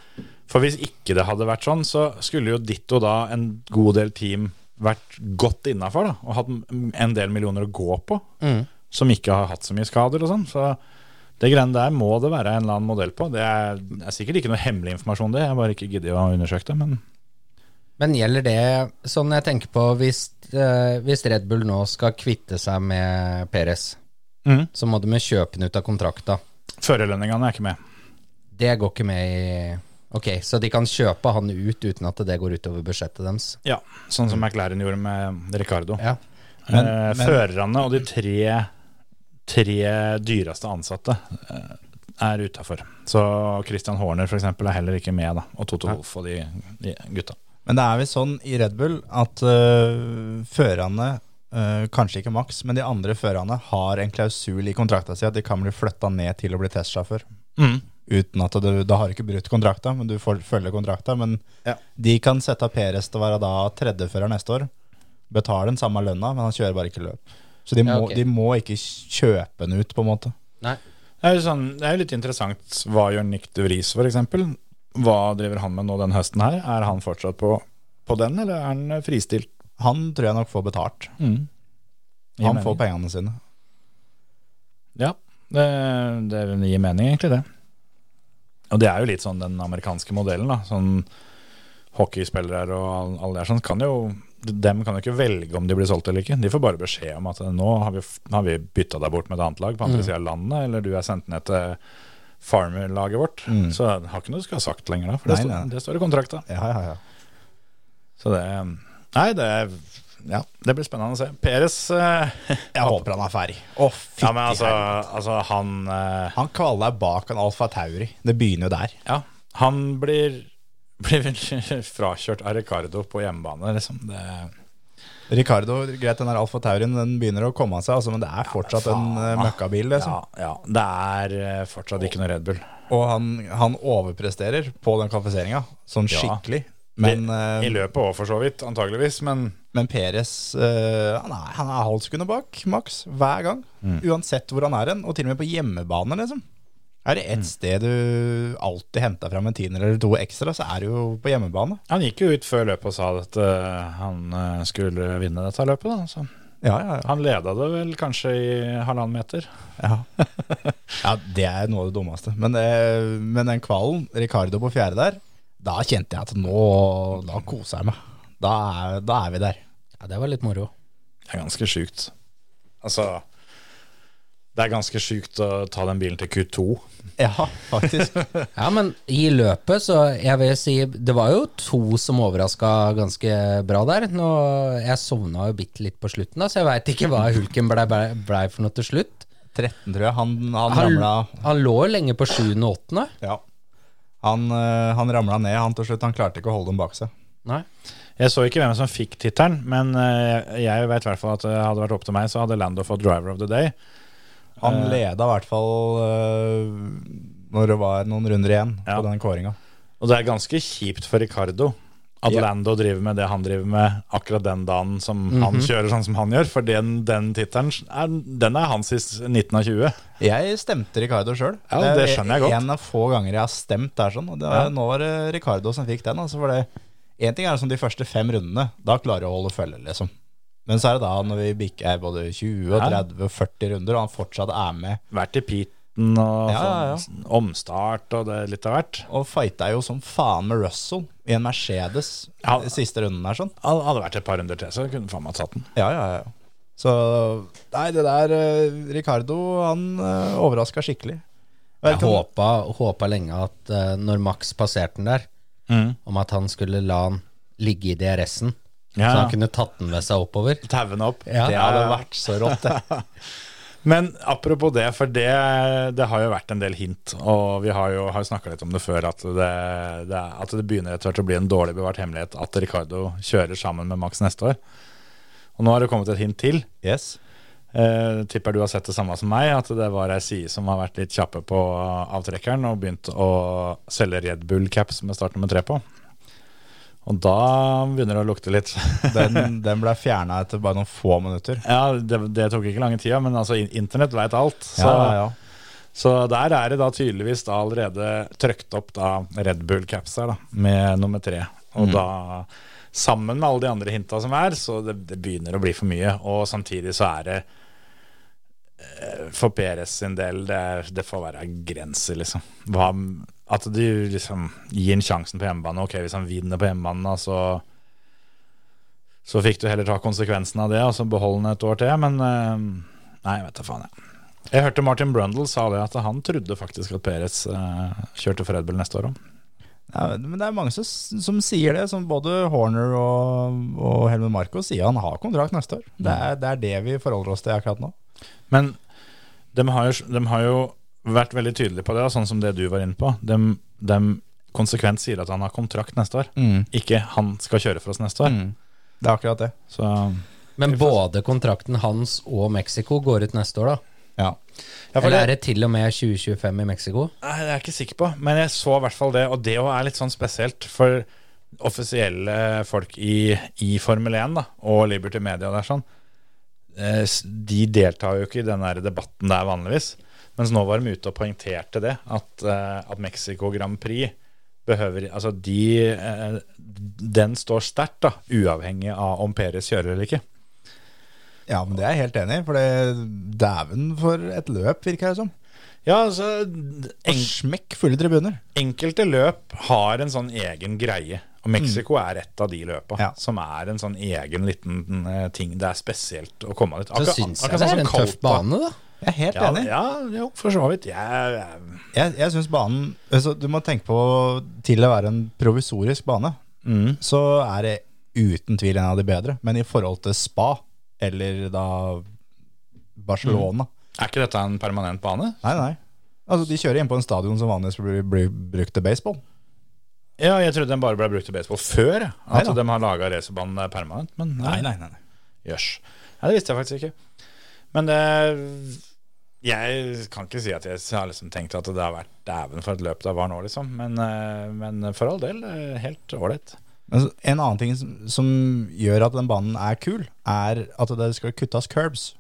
for hvis ikke det hadde vært sånn, så skulle jo ditto da en god del team vært godt innafor og hatt en del millioner å gå på, som ikke har hatt så mye skader og sånn. så... Det greiene der må det være en eller annen modell på. Det er, er sikkert ikke noe hemmelig informasjon, det. Jeg bare ikke gidder å undersøke det. Men Men gjelder det sånn jeg tenker på hvis, eh, hvis Red Bull nå skal kvitte seg med Perez, Mhm. så må de jo kjøpe den ut av kontrakta. Førerlønningene er ikke med. Det går ikke med i Ok, så de kan kjøpe han ut uten at det går utover budsjettet deres. Ja, Sånn som McLaren gjorde med Ricardo. Ja. Men- eh, men- førerne og de tre, tre dyreste ansatte eh, er utafor. Så Christian Horner for eksempel, er heller ikke med, da. og Toto Wolff og de, de gutta. Men det er vel sånn i Red Bull at øh, førerne, øh, kanskje ikke Max, men de andre førerne har en klausul i kontrakta si at de kan bli flytta ned til å bli testsjåfør. Mm. Uten at du Da har du ikke brutt kontrakta, men du får følge kontrakta. Men Ja. de kan sette Peres til å være da tredjefører neste år. Betaler den samme lønna, men han kjører bare ikke løp. Så de må, Ja, ok. de må ikke kjøpe den ut, på en måte. Nei. Det er jo sånn, det er jo litt interessant. Hva gjør Nick de Vries, for eksempel? Hva driver han med nå den høsten her? Er han fortsatt på, på den, eller er han fristilt? Han tror jeg nok får betalt. Gir Han mening. får pengene sine. Ja, det, det gir mening egentlig det. Og det er jo litt sånn den amerikanske modellen da, sånn hockeyspillere og all- alle der sånn, kan jo, dem kan jo ikke velge om de blir solgt eller ikke. De får bare beskjed om at nå har vi, har vi byttet deg bort med et annet lag på andre Mm. siden av landet, eller du er sendt ned til farmer-laget vårt. Mm. Så jeg har ikke noe du skal ha sagt lenger da, for det, Nei, står- nei. det står i kontrakta. Ja, ja, ja. Så det, nei, det, ja, det blir spennende å se. Peres, eh, Jeg håper han er ferdig. Å, fytti ja, men altså, altså han... eh, Han kvaler bak en Alfa Tauri. Det begynner jo der. Ja, han blir, blir *laughs* frakjørt av Ricardo på hjemmebane, liksom. Det, Ricardo, greit, den der Alfa Taurien den begynner å komme av seg, altså, men det er fortsatt en eh, møkkabil. ja, Liksom. ja, det er eh, fortsatt ikke noe Red Bull. Og han, han overpresterer på den kvalifiseringa, sånn Ja. skikkelig. Men, I eh, løpet òg, for så vidt, antageligvis, men men Peres eh, han, er, han er halvt sekundet bak Max hver gang. Mm. Uansett hvor han er hen, og til og med på hjemmebane. liksom. Er det Mm. ett sted du alltid henter fram en tiner eller to ekstra, så er det jo på hjemmebane. han gikk jo ut før løpet og sa at eh, han eh, skulle vinne dette løpet, da. Så Ja, ja, ja. han leda det vel kanskje i halvannen meter. Ja. ja, det er noe av det dummeste. Men, eh, men den kvalen, Ricardo på fjerde der, da kjente jeg at nå Da koser jeg meg. Da er, da er vi der. Ja, det var litt moro. Det er ganske sjukt. Altså Det er ganske sjukt å ta den bilen til Q2. Ja, *laughs* faktisk. Ja, men i løpet, så jeg vil si Det var jo to som overraska ganske bra der. Nå, jeg sovna jo bitte litt på slutten, da, så jeg veit ikke hva hulken blei ble, ble for noe til slutt. 13, tror jeg. Han, han Han, ramla han lå jo lenge på sjuende og åttende. Ja. Han, eh, han ramla ned, han til slutt. Han klarte ikke å holde dem bak seg. Nei. Jeg så ikke hvem som fikk tittelen, men eh, jeg vet i hvert fall at eh, hadde det vært opp til meg, så hadde Lando fått driver of the day. Han leda i hvert fall eh, når det var noen runder igjen Ja. på den kåringa. Og det er ganske kjipt for Ricardo at Ja. Lando driver med det han driver med akkurat den dagen som Mhm. han kjører sånn som han gjør, for den, den tittelen er, den er hans i 19 av 20. Jeg stemte Ricardo sjøl. Ja, det skjønner jeg godt. En av få ganger jeg har stemt der sånn. Og det, Ja. Nå var det Ricardo som fikk den. Altså, for det, en ting er som de første fem rundene. Da klarer jeg å holde følge, liksom. Men så er det da når vi bikker både 20, og Ja. 30 og 40 runder, og han fortsatt er med. Vært i piten og Ja, ja, ja. sånn omstart og det litt av hvert. Og fighta jo som faen med Russell i en Mercedes Ja. de siste runden der sånn. Hadde hadde vært et par runder til, så kunne faen meg tatt den. Ja, ja, ja. Så Nei, det der eh, Ricardo, han uh, overraska skikkelig. Jeg håpa, håpa lenge at eh, når Max passerte den der, Mm. om at han skulle la han ligge i DRS-en, Ja, ja. så han kunne tatt den med seg oppover. Tauen opp. Ja. Det hadde vært så *laughs* rått, det. Men apropos det, for det, det har jo vært en del hint, og vi har jo har snakka litt om det før, at det, det, at det begynner etter hvert å bli en dårlig bevart hemmelighet at Ricardo kjører sammen med Max neste år. Og nå har det kommet et hint til. Yes. Eh, tipper du har sett det samme som meg, at det var ei side som har vært litt kjappe på avtrekkeren og begynt å selge Red Bull-caps med start nummer tre på. Og da begynner det å lukte litt. Den, den ble fjerna etter bare noen få minutter. ja, det, det tok ikke lange tida, men altså, in- internett veit alt. Så ja, Så der er det da tydeligvis da allerede trøkt opp da Red Bull-caps her, da, med nummer tre. Og da, sammen med alle de andre hinta som er, så det, det begynner å bli for mye. Og samtidig så er det eh, for PRS sin del, det, er- det får være grenser, liksom. Hva, at du liksom gir en sjansen på hjemmebane. Ok, hvis han vinner på hjemmebane, da, så Så fikk du heller ta konsekvensen av det, altså beholde den et år til. Men eh, nei, vet du faen, jeg. Jeg hørte Martin Brundle sa det, at han trodde faktisk at Perez eh, kjørte for Red Bull neste år òg. Ja, men det er mange som, som sier det, som både Horner og, og Helmut Marko sier han har kontrakt neste år. Det er, det er det vi forholder oss til akkurat nå. Men de har, jo, de har jo vært veldig tydelige på det, da, sånn som det du var inne på. De, de konsekvent sier at han har kontrakt neste år, Mm. ikke han skal kjøre for oss neste år. Det er akkurat det. Så Men både kontrakten hans og Mexico går ut neste år, da. Ja. ja, for Eller det, er det til og med 2025 i Mexico? Nei, det er jeg ikke sikker på, men jeg så i hvert fall det. Og det òg er litt sånn spesielt for offisielle folk i, i Formel 1 da, og Liberty Media. Der, sånn. Eh, s- De deltar jo ikke i den der debatten der vanligvis. Mens nå var de ute og poengterte det, at, eh, at Mexico Grand Prix behøver Altså, de, eh, den står sterkt, da, uavhengig av om Perez kjører eller ikke. ja, men det er jeg helt enig i, for det dæven for et løp, virker det som. Ja, altså Og smekk fulle tribuner. enkelte løp har en sånn egen greie. Og Mexico er et av de løpa Ja. som er en sånn egen liten eh, ting. Det er spesielt å komme dit. Så Akkurat- syns jeg akkurat det sånn er en som tøff Copa. bane, da. Jeg er helt Ja, enig. ja, jo, for så vidt. Jeg, jeg, Jeg, jeg syns banen altså, Du må tenke på til å være en provisorisk bane, Mm. så er det uten tvil en av de bedre. Men i forhold til spa, eller da Barcelona er ikke dette en permanent bane? Nei, nei. Altså, de kjører inn på en stadion som vanligvis blir, blir brukt til baseball. Ja, jeg trodde den bare ble brukt til baseball før. jeg. At Neida. de har laga racerbanen der permanent. Men nei, nei, nei. jøss. Nei, det visste jeg faktisk ikke. Men det Jeg kan ikke si at jeg har liksom tenkt at det har vært dæven for et løp det var nå, liksom. Men, eh, men for all del, eh, helt ålreit. Men så- en annen ting som, som gjør at den banen er kul, er at det skal kuttes curbs.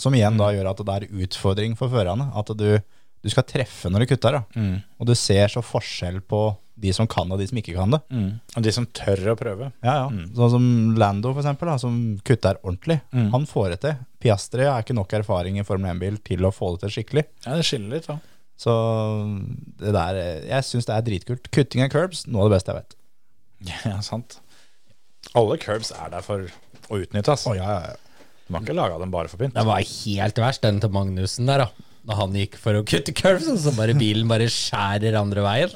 Som igjen da gjør at det er utfordring for førerne. At du, du skal treffe når du kutter. Da. Og du ser så forskjell på de som kan det, og de som ikke kan det. Og de som tør å prøve. Ja, ja. Sånn som Lando, for eksempel, da, som kutter ordentlig. Han får det til. Piastri har ikke nok erfaring i Formel 1-bil til å få det til skikkelig. Ja, det skiller litt, da. Så det der, jeg syns det er dritkult. Kutting av curbs, noe av det beste jeg vet. *laughs* Ja, sant. Alle curbs er der for å utnyttes. ja, ja, De har ikke laga dem bare for pynt. Det var helt verst, den til Magnussen der, da. Da han gikk for å kutte curves, og så bare bilen bare skjærer andre veien.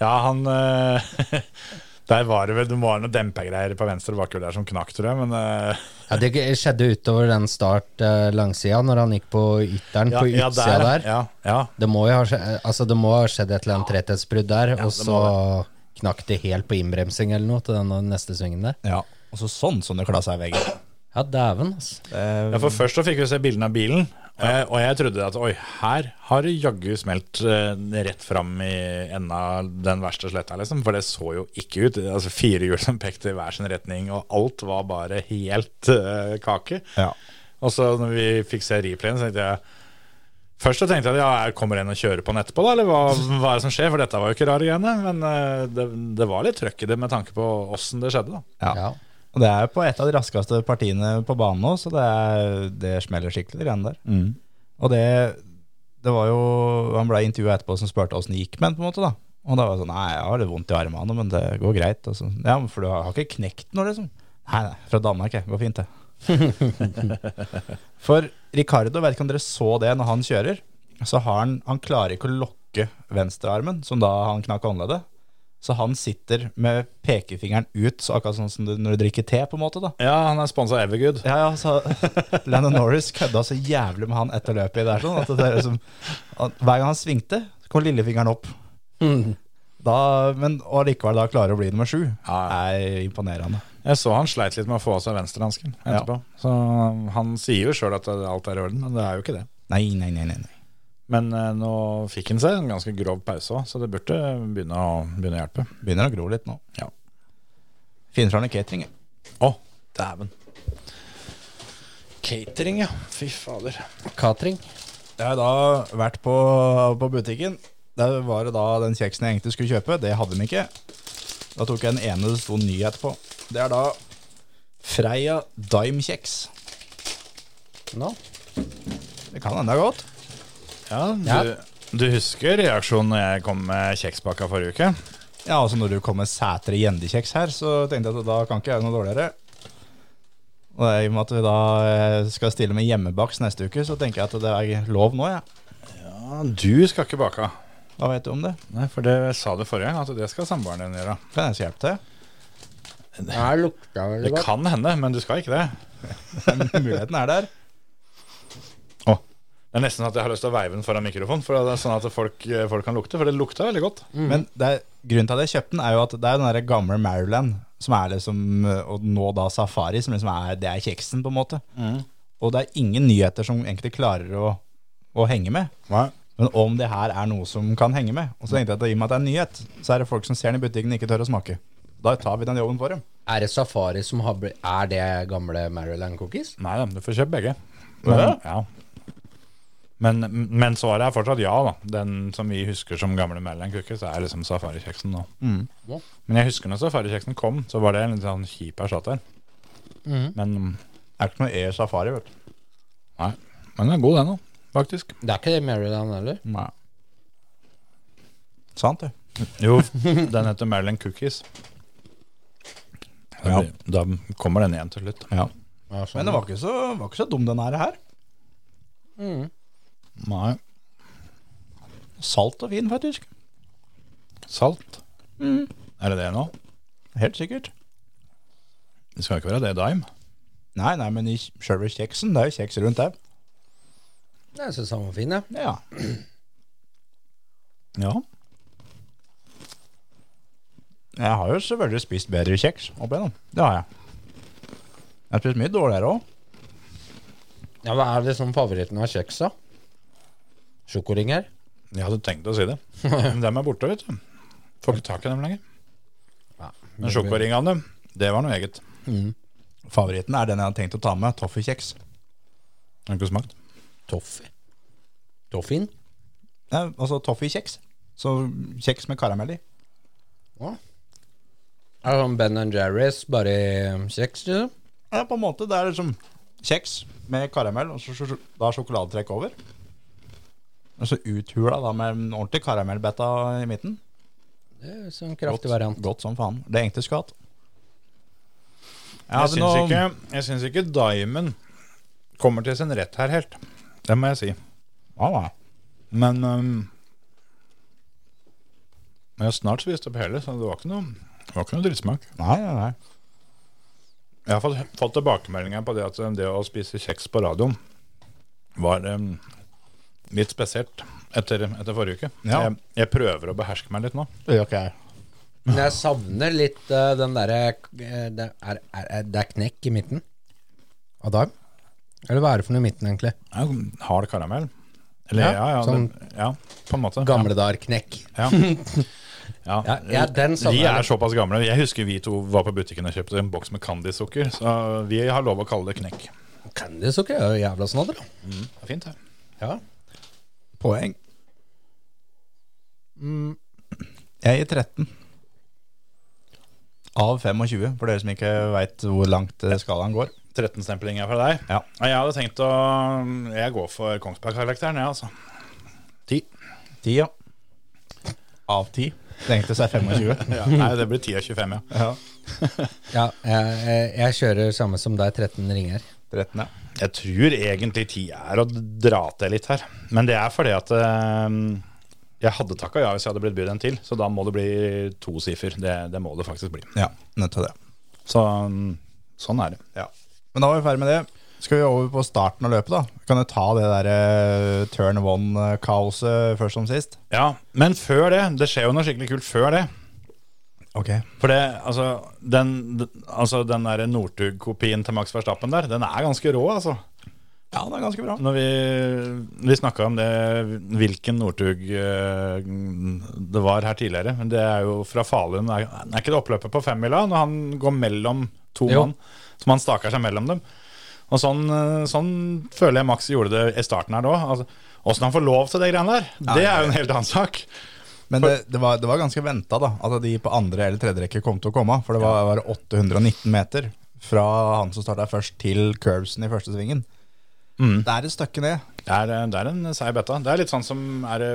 Ja, han eh, *laughs* Der var det vel Det var noen dempegreier på venstre bakhjul der som knakk, tror jeg, men eh, Ja, Det skjedde utover den start eh, langsida, når han gikk på ytteren på ja, utsida der. Ja, ja. Det, må jo ha skjedd, altså, det må ha skjedd et eller annet tretthetsbrudd der, og det så knakk det helt på innbremsing eller noe til den neste svingen der. ja. Og så sånn som det klassa i veggen. Ja, dæven, altså. Eh, ja, for først så fikk vi se bildene av bilen, og jeg, og jeg trodde at oi, her har det jaggu smelt eh, rett fram i enden av den verste sletta, liksom, for det så jo ikke ut. Altså Fire hjul som pekte i hver sin retning, og alt var bare helt eh, kake. ja. Og så når vi fikk se replayen, så tenkte jeg Først så tenkte jeg at ja, jeg kommer en og kjører på den etterpå, da, eller hva, hva er det som skjer? For dette var jo ikke rare greiene. Men eh, det, det var litt trøkk i det med tanke på åssen det skjedde, da. Ja. Ja. Og det er jo på et av de raskeste partiene på banen nå, så det, er, det smeller skikkelig, det greiene der. Og det, det var jo Han ble intervjua etterpå som spurte åssen det gikk med han, på en måte. da Og da var det sånn Nei, jeg har litt vondt i armene, men det går greit. Og så, ja, men for du har har ikke knekt noe, liksom. Nei, nei, fra Danmark, jeg. Går fint, det. for Ricardo, vet ikke om dere så det når han kjører, så har han Han klarer ikke å lokke venstrearmen, som da han knakk håndleddet. Så han sitter med pekefingeren ut, så akkurat sånn som du, når du drikker te, på en måte. da Ja, han er sponsa av Evergood. ja, ja, *laughs* så Landon Norris kødda så jævlig med han etter løpet i der, sånn at det er liksom, at Hver gang han svingte, så kom lillefingeren opp. Mm. Da, men og likevel da klarer å bli nummer sju. Ja, er imponerende. Jeg så han sleit litt med å få av seg venstrehansken etterpå. Så han sier jo sjøl at alt er i orden, men det er jo ikke det. Nei, nei, nei. nei, nei. Men eh, nå fikk han seg en ganske grov pause òg, så det burde begynne å, begynne å hjelpe. Begynner å gro litt nå. Ja. Finner fram noe catering. jeg. Å, dæven. Catering, ja. Fy fader. Catering. Jeg har da vært på, på butikken. Der var det da den kjeksen jeg egentlig skulle kjøpe. Det hadde de ikke. Da tok jeg den ene det sto ny etterpå. Det er da Freia Dime-kjeks. Nå. Det kan hende det er godt. Ja, du, Ja. du husker reaksjonen når jeg kom med kjekspakka forrige uke? Ja, altså når du kom med Sætre gjendekjeks her, så tenkte jeg at da kan ikke jeg gjøre noe dårligere. Og det er I og med at vi da eh, skal stille med hjemmebaks neste uke, så tenker jeg at det er lov nå, jeg. Ja, du skal ikke bake. Hva vet du om det? Nei, for det sa du forrige gang, at det skal samboeren din gjøre. Kan jeg hjelpe til? Det lukta Det veldig godt. kan hende, men du skal ikke det. *laughs* Muligheten er der. Det er nesten at jeg har lyst til å veive den foran mikrofonen, for det er sånn at folk, folk kan lukte. For det lukta veldig godt. Men det er, grunnen til at jeg kjøpte den, er jo at det er den der gamle Maryland, som er liksom, og nå da Safari, som liksom er, det er kjeksen, på en måte. Og det er ingen nyheter som egentlig klarer å, å henge med. Nei. Mm. Men om det her er noe som kan henge med. Og så tenkte jeg at i og med at det er en nyhet, så er det folk som ser den i butikken og ikke tør å smake. Da tar vi den jobben for dem. Er det Safari som har blitt Er det gamle Maryland cookies? Nei da, du får kjøpe begge. Men, ja. men, men svaret er fortsatt ja, da. Den som vi husker som gamle Maryland Cookies, er liksom safarikjeksen nå. Ja. Men jeg husker når safarikjeksen kom, så var det en litt sånn kjip erstatter. Men, mm, Det er E ikke noe E-safari, vet du. nei, men den er god, den òg, faktisk. Det er ikke det Maryland heller. Nei. Sant, det. *laughs* Jo, den heter Maryland Cookies. Da, Ja. blir- da kommer den igjen til slutt. Ja, sånn. Men den var ikke så, var ikke så dum, den her. her. Nei. Salt og fin, faktisk. Salt. Mm. Er det det nå? Helt sikkert. Det skal ikke være det, Dime. Nei, nei, men i sjølve kjeksen, det er jo kjeks rundt der. Jeg syns den var fin, jeg. Ja. Ja. Jeg har jo selvfølgelig spist bedre kjeks opp igjennom. Det har jeg. Jeg har spist mye dårligere òg. Ja, hva er liksom favoritten av kjeks, da? Sjokoringer? Jeg hadde tenkt å si det. Men dem er borte, vet du. Får ikke tak i dem lenger. Ja. Men sjokoringene, det var noe eget. Mm. Favoritten er den jeg hadde tenkt å ta med. Toffee-kjeks. Har ikke smakt. Toffee. Toffeen? Nei, Altså toffee-kjeks. Så kjeks med karamell i. Ja. Er det sånn Ben Jerry's, bare i kjeks, liksom? Ja, på en måte. Det er liksom kjeks med karamell, og så så- så- da er sjokoladetrekk over. Og så uthula da med en ordentlig karamellbetta i midten. Det er sånn kraftig variant. Godt som faen. Det er egentlig skulle hatt. Jeg syns ikke, jeg syns ikke Diamond kommer til sin rett her helt. Det må jeg si. Ja, ja. Men um, men jeg har snart spist opp hele, så det var ikke noe, det var ikke noe drittsmak. Nei, nei, nei. Jeg har fått, fått tilbakemeldinger på det at um, det å spise kjeks på radioen var um, litt spesielt etter, etter forrige uke. Ja. Jeg, jeg prøver å beherske meg litt nå. Det gjør ikke jeg. Men jeg savner litt eh, den derre eh, det, er, er, er, det er knekk i midten av daim? Eller hva er det for noe i midten, egentlig? Ja, hard karamell. Eller, Ja, ja, ja, sånn- det, ja, på en måte. Gamle dager knekk. Ja. Ja. Ja, ja, den vi savner jeg er litt. såpass gamle. Jeg husker vi to var på butikken og kjøpte en boks med candysukker, så vi har lov å kalle det knekk. Candysukker er jo jævla snadder, da. Det er fint, det. Ja. Poeng. Mm. Jeg gir 13. Av 25, for dere som ikke veit hvor langt eh, skalaen går. 13-stempling er fra deg. Ja. Jeg hadde tenkt å Jeg går for Kongsberg-karakteren, jeg, altså. Ti. 10, ja. Av 10. Tenkte seg 25. Ja, nei, det blir 10 av 25, ja. ja. ja jeg, jeg, jeg kjører samme som deg, 13 ringer. 13, ja. Jeg tror egentlig ti er å dra til litt her. Men det er fordi at eh, jeg hadde takka ja hvis jeg hadde blitt bydd en til, så da må det bli to siffer. Det, det må det faktisk bli. Ja, nødt til det. Så mm, sånn er det. Ja. Men da var vi ferdig med det. Skal vi over på starten av løpet, da? Kan du ta det der eh, turn one-kaoset først som sist? Ja, Men før det, det skjer jo noe skikkelig kult før det. Ok. For det, altså den, d- altså, den der Northug-kopien til Max Verstappen der, den er ganske rå, altså. Ja, det er ganske bra. Når vi, vi snakka om det, hvilken Northug eh, det var her tidligere men Det er jo fra Falun. Er, er ikke det oppløpet på femmila når han går mellom to Jo. mann? Som han staker seg mellom dem. Og sånn, eh, sånn føler jeg Max gjorde det i starten her nå. Altså, Åssen han får lov til det greiene der, det er jo en helt annen sak. Men det, det, var, det var ganske venta da, at de på andre eller tredje rekke kom til å komme. For det var, var 819 meter fra han som starta først, til curbsen i første svingen. Mm. Det er et stykke ned. Det er, eh, det er en seig beta. Det er litt sånn som Er det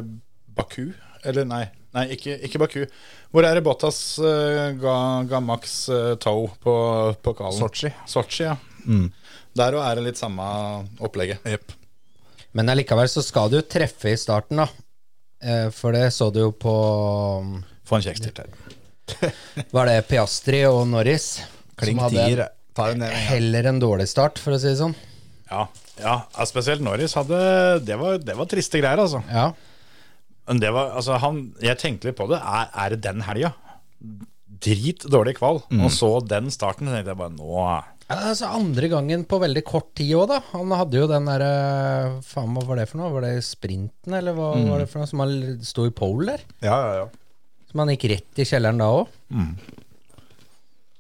Baku? Eller nei, nei ikke, ikke Baku. Hvor er det Bottas eh, ga, ga Max uh, toe eh, på, på kvalen? Sotsji. Sotsji, Mm. ja. Der òg er det litt samme opplegget. Men allikevel så skal du treffe i starten, da. Eh, For det så du jo på um, Få en kjeks til her. Var det Piastri og Norris? Klink som hadde tier. Ta den ned med en gang. Heller en dårlig start, for å si det sånn. Ja, ja, ja, spesielt Norris hadde det var, det var triste greier, altså. Ja. Men det var, altså han, jeg tenkte litt på det. Er, er det den helga? Drit dårlig kval. Og så den starten, så tenkte jeg bare nå Ja, altså Andre gangen på veldig kort tid òg, da. Han hadde jo den derre Faen, hva var det for noe? Var det sprinten, eller hva Mm. var det for noe? Som han sto i pole der? Ja, ja, ja. Som han gikk rett i kjelleren da òg. Mm.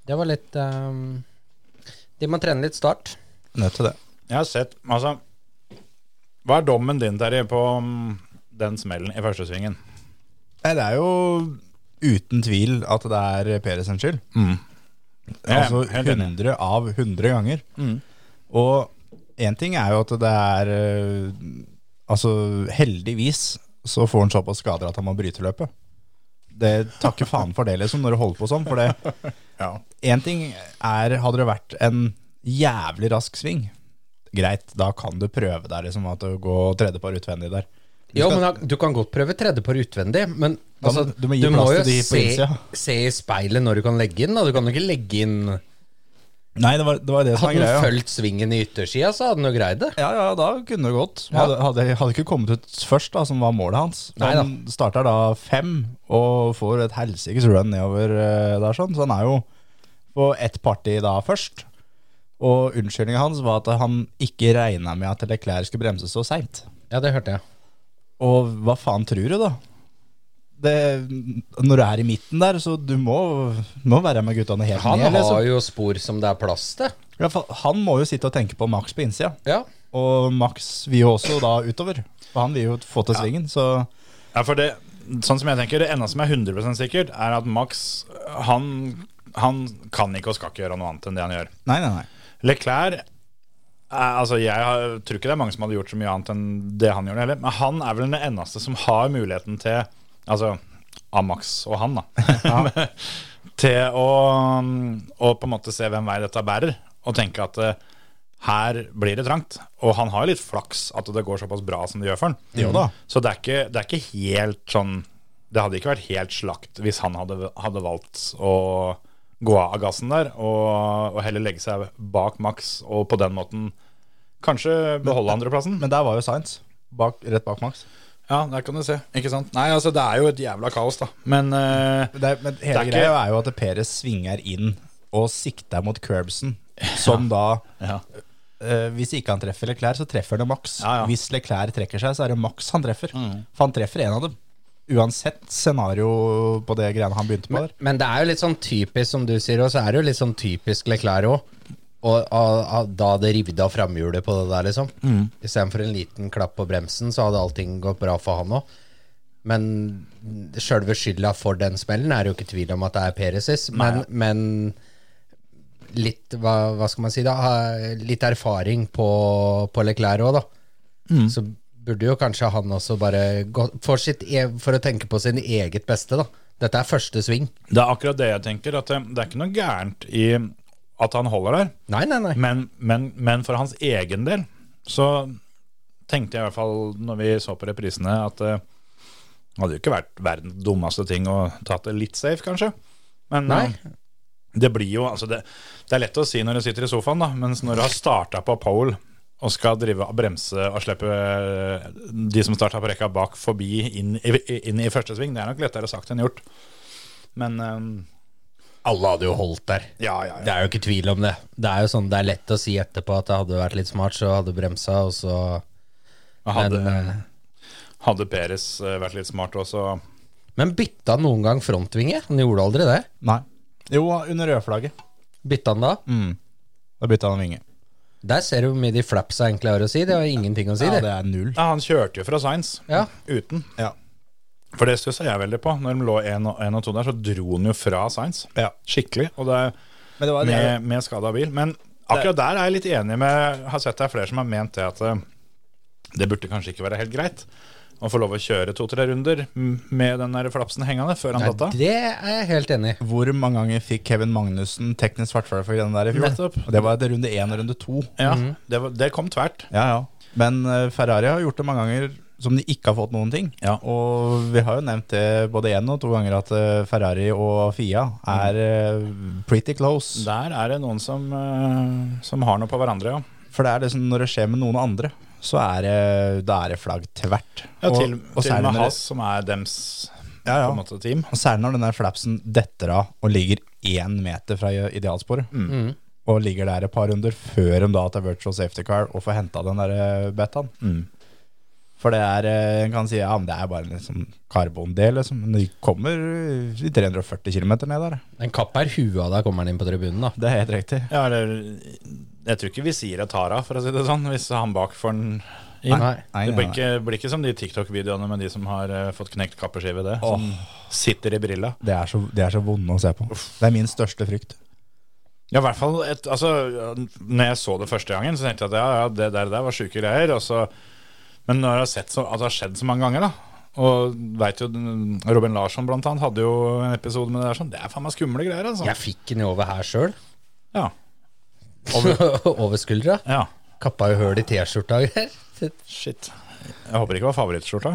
Det var litt ehm, De må trene litt start. Nødt til det. Jeg har sett Altså, hva er dommen din, Terje, på mm, den smellen i første svingen? Nei, det er jo uten tvil at det er Peres sin skyld. Mm. Ja, Altså helt enig. Mm. 100 av 100 ganger. Og én ting er jo at det er eh, Altså, heldigvis så får han såpass skader at han må bryte løpet. Det takker faen for det, liksom, når du holder på sånn. *laughs* For det Ja. Én ting er Hadde det vært en jævlig rask sving, greit, da kan du prøve deg, liksom, at du går tredjepar utvendig der. Du Jo, skal- men da- Du kan godt prøve tredjepar utvendig, men Da må- altså, du må gi plass til de på se, innsida. se i speilet når du kan legge inn. Da. Du kan jo ikke legge inn Nei, det var det, var det som var Hadde greia. han fulgt svingen i yttersida, så hadde han jo greid det. Ja, ja, da kunne det gått. Ja. Hadde, hadde, hadde ikke kommet ut først, da, som var målet hans. Nei da. han starter da fem og får et helsikes run nedover eh, der, sånn. Så han er jo på ett parti da først. Og unnskyldningen hans var at han ikke regna med at Leclerc skulle bremse så seint. Ja, det hørte jeg. Og hva faen tror du, da? Det, når du er i midten der, så du må, må være med guttene helt Han ned. har Liksom. jo spor som det er plass til. Ja, for han må jo sitte og tenke på Max på innsida. Ja. Og Max vil jo også da utover. For han vil jo få til svingen, så Ja, for det Sånn som jeg tenker, det enda som er 100 sikkert, er at Max han, han kan ikke og skal ikke gjøre noe annet enn det han gjør. Nei, nei, nei. Leclerc er, altså Jeg har, tror ikke det er mange som hadde gjort så mye annet enn det han gjorde heller, men han er vel den eneste som har muligheten til Altså av Max og han, da. *laughs* til å, å på en måte se hvem vei dette bærer, og tenke at eh, her blir det trangt. Og han har jo litt flaks at det går såpass bra som det gjør for han. Mm. Jo da. Så det er, ikke, det er ikke helt sånn Det hadde ikke vært helt slakt hvis han hadde, hadde valgt å gå av gassen der og, og heller legge seg bak Max og på den måten kanskje beholde andreplassen. Men der var jo Science. Bak, rett bak Max. Ja, der kan du se. Ikke sant? Nei, altså, det er jo et jævla kaos, da. Men eh, Men, det, er- men hele Det er ikke- greia er jo at Perez svinger inn og sikter mot curbsen, som da ja. eh, Hvis ikke han treffer Leclerc, så treffer han Max. Ja, Mm. ja. Hvis Leclerc trekker seg, så er det Max han treffer. For han treffer en av dem. Uansett scenario på det greiene han begynte på der. Men det er jo litt sånn typisk, som du sier, og så er det jo litt sånn typisk Leclerc òg. Og, og, og da det rivde av framhjulet på det der, liksom. Istedenfor en liten klapp på bremsen, så hadde allting gått bra for han òg. Men sjølve skylda for den smellen er det jo ikke tvil om at det er Peresis. Men, men litt hva, hva skal man si da? ha- Litt erfaring på, på Leclerc òg, da. Så burde jo kanskje han også bare gå for, sitt, e- for å tenke på sin eget beste, da. Dette er første sving. Det er akkurat det jeg tenker. At det, det er ikke noe gærent i at han holder der. Nei, nei, nei. Men, men, men for hans egen del så tenkte jeg i hvert fall når vi så på reprisene, at eh, det hadde jo ikke vært verdens dummeste ting å tatt det litt safe, kanskje. Men Nei. eh, det blir jo altså det, det er lett å si når du sitter i sofaen, da, mens når du har starta på pole og skal drive og bremse og slippe eh, de som starta på rekka bak, forbi inn i, inn i første sving, det er nok lettere sagt enn gjort. Men eh, Alle hadde jo holdt der. ja, ja, Det ja. er jo ikke tvil om det. Det er jo sånn, det er lett å si etterpå at det hadde vært litt smart, så hadde bremsa, og så Hadde, men, eh, hadde Peres eh, vært litt smart også, så men bytta han noen gang frontvinge? Han gjorde aldri det. Nei. Jo, under rødflagget. Bytta han da? Mm. Da bytta han vinge. Der ser du hvor mye de flapsa egentlig har å si. Det har ingenting å si, Ja, det. det er null. Ja, han kjørte jo fra Sainz Ja. uten. Ja. For det stussa jeg veldig på. Når de lå 1 og, en og 2 der, så dro han jo fra Sainz. Ja. Skikkelig. Og det er Men det var det. med, med skada bil. Men akkurat der er jeg litt enig med Har sett det er flere som har ment det at eh, det burde kanskje ikke være helt greit. Han får lov å kjøre to-tre runder med den der flapsen hengende før han Nei, datt av. det er jeg helt enig i. Hvor mange ganger fikk Kevin Magnussen teknisk svartfølge for den der i fjor? Nettopp. Og det var etter runde én og runde to. Ja, det, var, det kom tvert. Ja, ja. Men eh, Ferrari har gjort det mange ganger som de ikke har fått noen ting. Ja. Og vi har jo nevnt det både én og to ganger at eh, Ferrari og Fia er eh, pretty close. Der er det noen som, eh, som har noe på hverandre, ja. For det er liksom når det skjer med noen andre, så er det, da er det flagg tvert. ja til, til særlig og med når det- Haas, som er dems Ja, ja. på en måte team. Og særlig når den der flapsen detter av og ligger én meter fra idealsporet. Og ligger der et par runder før de da tar virtual safety car og får henta den der eh, betaen. For det er eh, En kan si ja, men det er bare en liksom karbondel, liksom. Men de kommer i 340 km ned der. En kapp er huet av deg, kommer han inn på tribunen, da. Det er helt riktig. Ja, eller, jeg tror ikke vi sier det tar av, for å si det sånn, hvis han bak får den inn. Nei. Nei, det blir nei, nei. ikke, blir ikke som de TikTok-videoene med de som har eh, fått knekt kappeskive i det. Som Åh. sitter i brilla. Det er så, det er så vonde å se på. Det er min største frykt. Ja, i hvert fall et, altså, ja, Når jeg så det første gangen, så tenkte jeg at ja, ja det der, der var sjuke greier. Og så, men når jeg har sett så, at det har skjedd så mange ganger, da og vet jo, den- Robin Larsson blant annet hadde jo en episode med det der sånn. Det er faen meg skumle greier, altså. Jeg fikk den jo over her *laughs* sjøl. Ja. *laughs* over skuldra. ja. Kappa jo høl i T-skjorta og greier. *laughs* Shit. Jeg håper ikke det var favorittskjorta.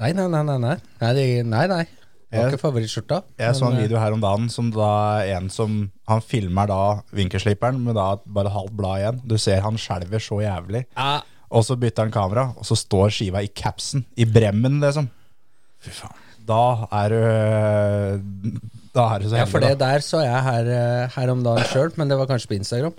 Nei, nei, nei. nei, nei. Nei, det, nei, nei. Det var ikke favorittskjorta. Jeg så en men, eh, video her om dagen som da er en som Han filmer da vinkelsliperen med da bare halvt blad igjen. Du ser han skjelver så jævlig. Ja. Og så bytter han kamera, og så står skiva i capsen. I bremmen, liksom. Fy faen. Da er du Da er du så Ja, for det heldig. da. der så jeg her, eh, her om dagen sjøl, men det var kanskje på Instagram.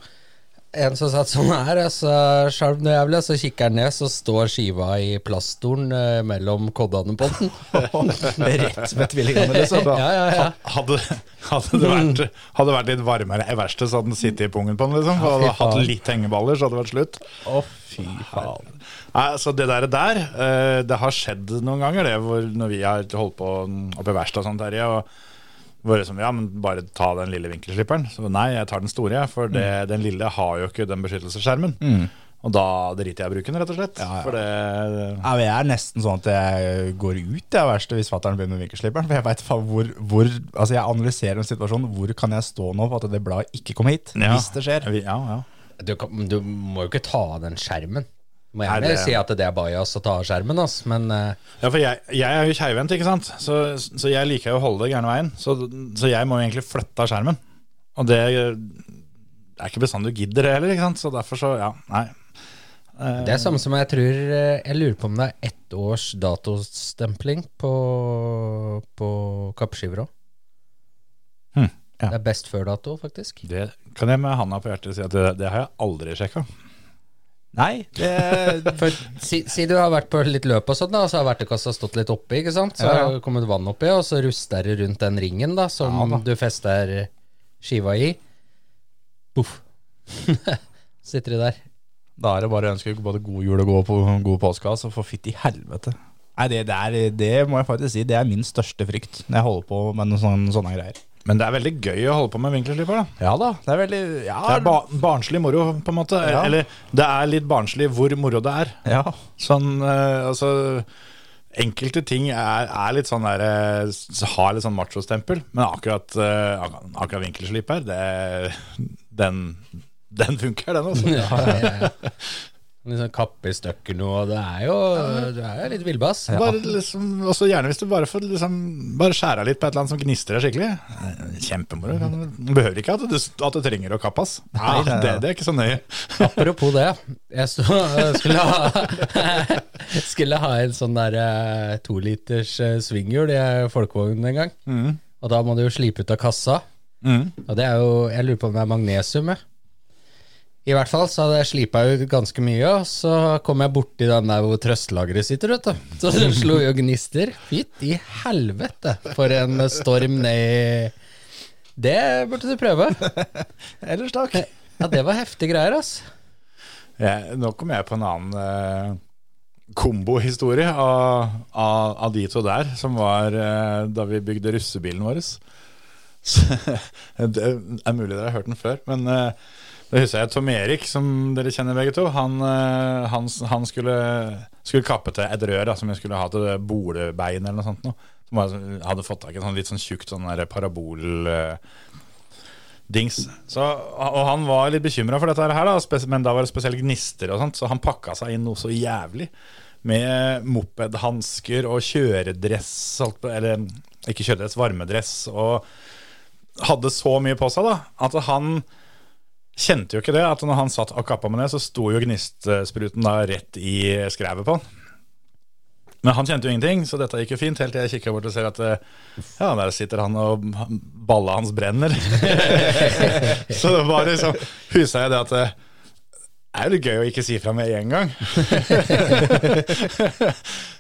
En som satt sånn her, altså, skjalv noe jævlig, og så kikker han ned, så står skiva i plaststolen eh, mellom koddene på *laughs* den. *laughs* Rett ved tvillingene, liksom. ja, ja, ja. Hadde, hadde, det vært, hadde det vært litt varmere i verkstedet, så hadde den sittet i pungen på den. liksom Ja, fy Hadde hatt faen. litt hengeballer, så hadde det vært slutt. Å, fy faen. Nei, altså Det der, der eh, det har skjedd noen ganger, det, hvor når vi har holdt på oppe i verkstedet og sånt, Terje. og hvor det som, ja, men bare ta den lille vinkelslipperen. Så nei, jeg tar den store, jeg, for det, Mm. den lille har jo ikke den beskyttelsesskjermen. Og da driter jeg i å bruke den, rett og slett. For det, Ja, men jeg er nesten sånn at jeg går ut av verste hvis fatter'n begynner med vinkelsliperen. For jeg vet faen hvor, hvor Altså, jeg analyserer en situasjon. Hvor kan jeg stå nå for at det bladet ikke kommer hit? Ja. Hvis det skjer. vi, ja, ja. Du, kan, du må jo ikke ta av den skjermen. Nei, Må gjerne det- si at det er bajas å ta av skjermen, ass, men eh, Ja, for jeg, jeg er jo keivhendt, ikke sant? Så, så jeg liker jo å holde det gærne veien. Så, så jeg må jo egentlig flytte av skjermen. Og det er ikke bestandig du gidder det heller, ikke sant? Så derfor så, ja, nei. det er samme som jeg tror eh, Jeg lurer på om det er ett års datostempling på, på kappeskiver òg. Hm, ja. Det er best før-dato, faktisk. Det kan jeg med handa på hjertet si at det, det har jeg aldri sjekka. Nei, det For, si, si du har vært på litt løp og sånn, da, og så har verktøykassa stått litt oppi, ikke sant? Så Ja, ja. har det kommet vann oppi, og så ruster det rundt den ringen da, som Ja, da. du fester skiva i. Boff. *laughs* Sitter de der. Da er det bare å ønske både god jul og god, på, god påske, altså. For fytti helvete. Nei, det, det, er, det må jeg faktisk si. Det er min største frykt når jeg holder på med noen sånne, sånne greier. Men det er veldig gøy å holde på med vinkelsliper, da. Ja da, det er veldig Ja, Det er ba barnslig moro, på en måte. Ja. Eller det er litt barnslig hvor moro det er. ja. Sånn, eh, altså Enkelte ting er, er litt sånn der eh, s- Har litt sånn machostempel, men akkurat, eh, ak- akkurat vinkelsliper, det Den, den funker, den, altså. Ja, ja, ja. *laughs* Litt sånn kappe i stykker nå, og det er jo, det er jo litt villbass. Bare liksom, også gjerne hvis du bare får liksom, bare skjæra litt på et eller annet som gnistrer deg skikkelig. Eh, Kjempemoro. kan- Du behøver ikke at du, at du trenger å kappes. Nei, Nei, det, det er ikke så nøye. Apropos det, jeg så, eh, skulle, ha, *laughs* skulle ha en sånn der eh, toliters eh, svinghjul i eh, folkevognen en gang. Mm. Og da må du jo slipe ut av kassa. Og det er jo, jeg lurer på om det er magnesium, jeg. I hvert fall så hadde jeg slipa ut ganske mye, og så kom jeg borti den der hvor trøstlageret sitter, vet du. Så det slo jo gnister. Fytti helvete, for en storm ned i Det burde du prøve. *laughs* Ellers takk. Ja, det var heftige greier, ass. Jeg, Eh, nå kom jeg på en annen eh, kombohistorie av, av, av de to der, som var eh, da vi bygde *laughs* russebilen vår. Så, det er mulig dere har hørt den før, men eh, Det husker jeg Tom Erik, som dere kjenner begge to. Han, eh, han, han skulle, skulle kappe til et rør da, som jeg skulle ha til bolebein eller noe sånt. Nå. Som hadde- hadde fått tak i en sånn litt sånn tjukt sånn der parabol... eh, Dings. Så, og han var litt bekymra for dette her, da, spes- men da var det spesielt gnister og sånt, så han pakka seg inn noe så jævlig. Med mopedhansker og kjøredress, alt på- eller ikke kjøredress, varmedress, og hadde så mye på seg da, at han kjente jo ikke det, at når han satt og kappa med det, så sto jo gnistspruten da rett i skrevet på han. Men han kjente jo ingenting, så dette gikk jo fint, helt til jeg kikka bort og ser at eh, ja, der sitter han og balla hans brenner. *laughs* så det var liksom Husa jeg det at eh, det er jo litt gøy å ikke si fra med en gang.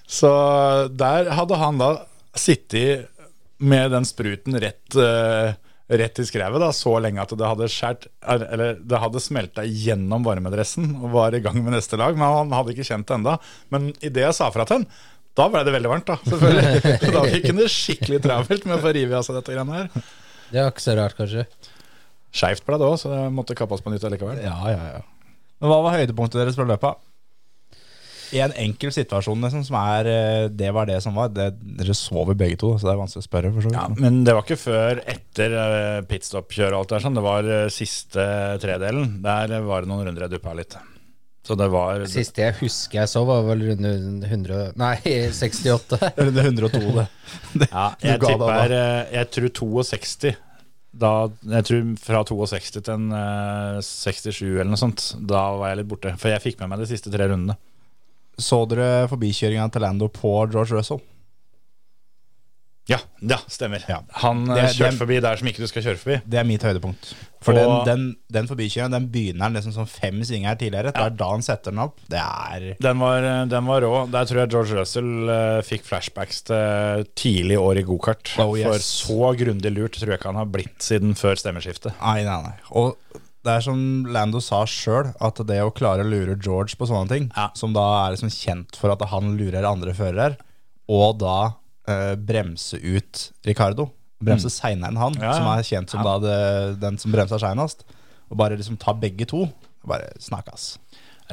så der hadde han da sittet med den spruten rett, eh, rett i skrevet da, så lenge at det hadde, skjært, er- eller det hadde smelta gjennom varmedressen og var i gang med neste lag. Men han hadde ikke kjent det enda. Men idet jeg sa fra til han, da ble det veldig varmt, da. selvfølgelig. *laughs* Så da fikk han det skikkelig travelt med å få rive av seg dette greiene her. Det er ikke så rart, kanskje. Skeivt ble det òg, så det måtte kappes på nytt allikevel. Ja, ja, ja. Men hva var høydepunktet deres fra løpet? I en enkel situasjon, liksom, som er eh, Det var det som var. Det, dere sover begge to, så det er vanskelig å spørre. For så Ja, vidt. men det var ikke før etter eh, pitstop-kjøret og alt det der sånn. Det var eh, siste tredelen. Der var det noen runder jeg duppa litt. Så det var Siste jeg husker jeg så, var vel runde 100 Nei, *laughs* 68. Runde 102, *laughs* det. Ja, Du jeg ga deg tipper eh, Jeg tror 62 da, Jeg tror fra 62 til en eh, 67 eller noe sånt Da var jeg litt borte For jeg fikk med meg de siste tre rundene Så dere forbikjøringa til Lando på George Russell? Ja, ja stemmer Ja. Han eh, Det- kjørte det- forbi der som ikke du skal kjøre forbi Det er mitt høydepunkt. For den, Og- den, den forbikjøringa den begynner han liksom som fem svinger tidligere. Det er da han setter den opp. Det er den var, eh, den var rå Der tror jeg George Russell eh, fikk flashbacks til eh, tidlig år i go-kart Oh, yes. For så grundig lurt tror jeg ikke han har blitt siden før stemmeskiftet Nei, nei, nei. Og det er som Lando sa sjøl, at det å klare å lure George på sånne ting, Ja. som da er liksom kjent for at han lurer andre førere, og da eh, bremse ut Ricardo, bremse seinere enn han, Mm. Ja, ja. som er kjent som da det, den som bremsa seinest, og bare liksom ta begge to, bare snakkes.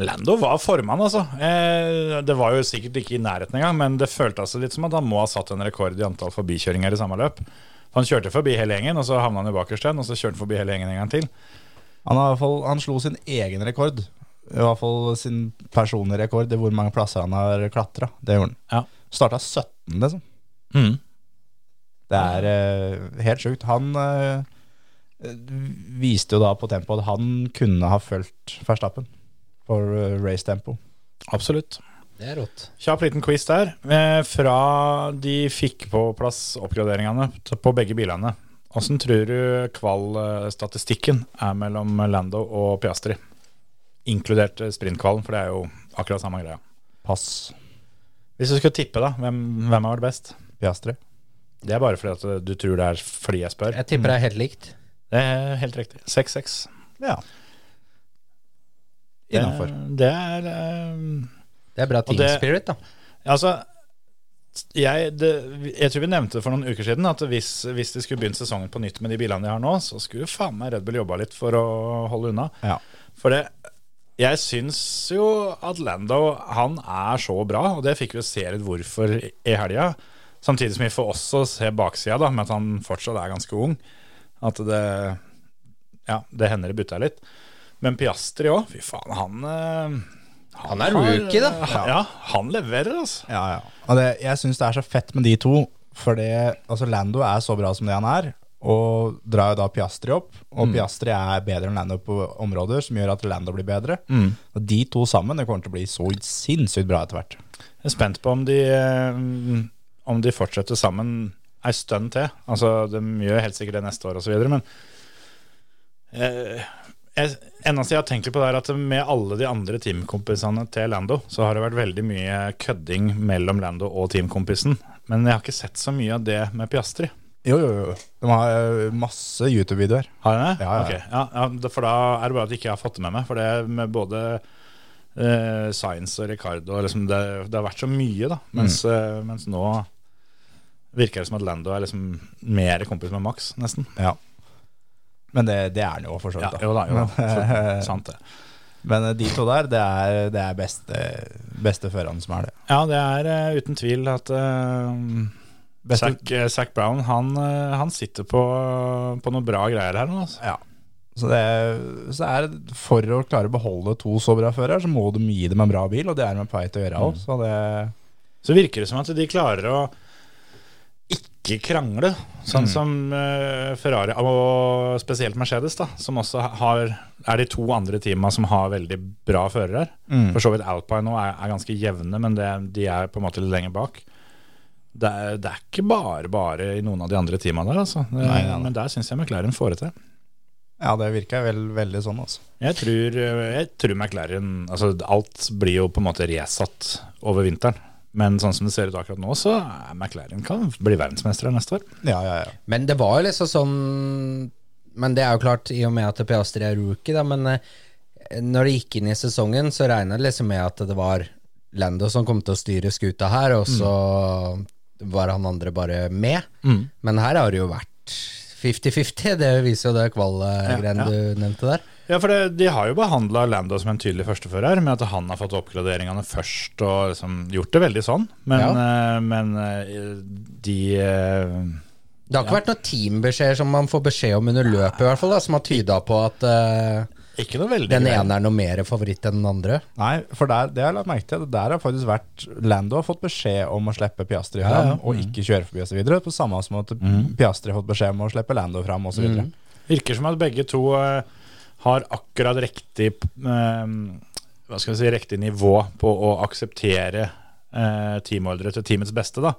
Lando var formann, altså. Eh, det var jo sikkert ikke i nærheten engang, men det føltes altså litt som at han må ha satt en rekord i antall forbikjøringer i samme løp. Han kjørte forbi hele gjengen, og så havna han i bakerst igjen, og så kjørte han forbi hele gjengen en gang til. Han, har i hvert fall, han slo sin egen rekord, i hvert fall sin personlige rekord i hvor mange plasser han har klatra. Det gjorde han. Ja. Starta 17, liksom. Mm. Det er eh, helt sjukt. Han eh, viste jo da på tempoet at han kunne ha fulgt Verstappen for eh, race tempo. Absolutt. Det er rått. Kjapp liten quiz der. Eh, fra de fikk på plass oppgraderingene t- på begge bilene, åssen tror du kvalstatistikken er mellom Lando og Piastri? Inkludert eh, sprintkvalen, for det er jo akkurat samme greia. Pass Hvis du skulle tippe, da, hvem, hvem har vært best? Piastri. Det er bare fordi at eh, du tror det er fordi jeg spør. Jeg tipper det er helt likt. Det er helt riktig. 6-6. Ja. Det- Innafor. Det er eh, Det er bra team det- spirit, da. Altså, jeg, det, jeg tror vi nevnte det for noen uker siden, at hvis, hvis de skulle begynt sesongen på nytt med de bilene de har nå, så skulle faen meg Red Bull jobba litt for å holde unna. Ja. For det jeg syns jo at Lando han er så bra, og det fikk vi jo se litt hvorfor i- i helga. Samtidig som vi får også se baksida, da, med at han fortsatt er ganske ung. At det Ja, det hender det butter litt. Men Piastri òg, fy faen, han eh, Han er har- rookie, da. Ja, ja han leverer, altså. Ja, ja. Og det, jeg syns det er så fett med de to, for det, altså Lando er så bra som det han er, og drar jo da Piastri opp. Og Piastri er bedre enn Lando på områder som gjør at Lando blir bedre. Og de to sammen det kommer til å bli så sinnssykt bra etter hvert. Jeg er spent på om de, eh, om de fortsetter sammen ei stund til. Altså, de gjør helt sikkert det neste år osv., men eh, jeg, eneste jeg har tenkt litt på, det er at med alle de andre teamkompisene til Lando, så har det vært veldig mye kødding mellom Lando og teamkompisen. Men jeg har ikke sett så mye av det med Piastri. Jo, jo, jo. De har eh, masse YouTube-videoer. Har jeg det? Ja, ja, ja. Ok, ja, ja, det- For da er det bare at jeg ikke har fått det med meg. For det med både eh, Science og Ricardo og liksom det, det har vært så mye, da. Mens, Mm. eh, mens nå virker det som at Lando er liksom mer kompis med Max, nesten. Ja. Men det, det er den jo, for så Ja, vidt. da. jo da, jo da. *laughs* Men, eh, Så, sant det. Men eh, de to der, det er, det er beste, beste førerne som er det. Ja, det er eh, uten tvil at eh, Zac, eh, Zac Brown han, eh, han sitter på, på noen bra greier her nå. Altså. Ja. Så, det, er- så er det for å klare å beholde to så bra førere, så må de gi dem en bra bil, og det er de på vei til å gjøre Mm. òg. Så det Så virker det som at de klarer å ikke krangle, sånn Mm. som eh, Ferrari og spesielt Mercedes, da, som også har, er de to andre teama som har veldig bra førere. Mm. For så vidt Alpine nå er, er ganske jevne, men det, de er på en måte litt lenger bak. Det er, det er ikke bare bare i noen av de andre teama der, altså. Det, Nei, nei, nei. Men der syns jeg McLaren får det til. Ja, det virker vel, veldig sånn, altså. Jeg tror, jeg tror McLaren altså Alt blir jo på en måte resatt over vinteren. Men sånn som det ser ut akkurat nå, så er McLaren kan bli verdensmester neste år. Ja, ja, ja. Men det var jo liksom sånn Men det er jo klart, i og med at Piastri er rookie, da, men eh, når det gikk inn i sesongen, så regna det liksom med at det var Lando som kom til å styre skuta her, og så var han andre bare med. Mm. Men her har det jo vært 50-50, det viser jo det Ja, kvalgreiene du nevnte der. Ja, for det, De har jo behandla Lando som en tydelig førstefører, med at han har fått oppgraderingene først og liksom gjort det veldig sånn. Men, eh, men eh, de eh, Det har ikke vært noen teambeskjeder som man får beskjed om under løpet, i hvert fall, da, som har tyda på at eh, Ikke noe veldig den ene er noe mer favoritt enn den andre. Nei, for der, det har jeg lagt merke til. Der har faktisk vært Lando har fått beskjed om å slippe Piastri fram Mm. og ikke kjøre forbi osv. På samme som at Piastri har fått beskjed om å slippe Lando fram osv. videre Mm. Virker som at begge to eh, har akkurat riktig eh, Hva skal vi si, riktig nivå på å akseptere eh, teamordre til teamets beste. da.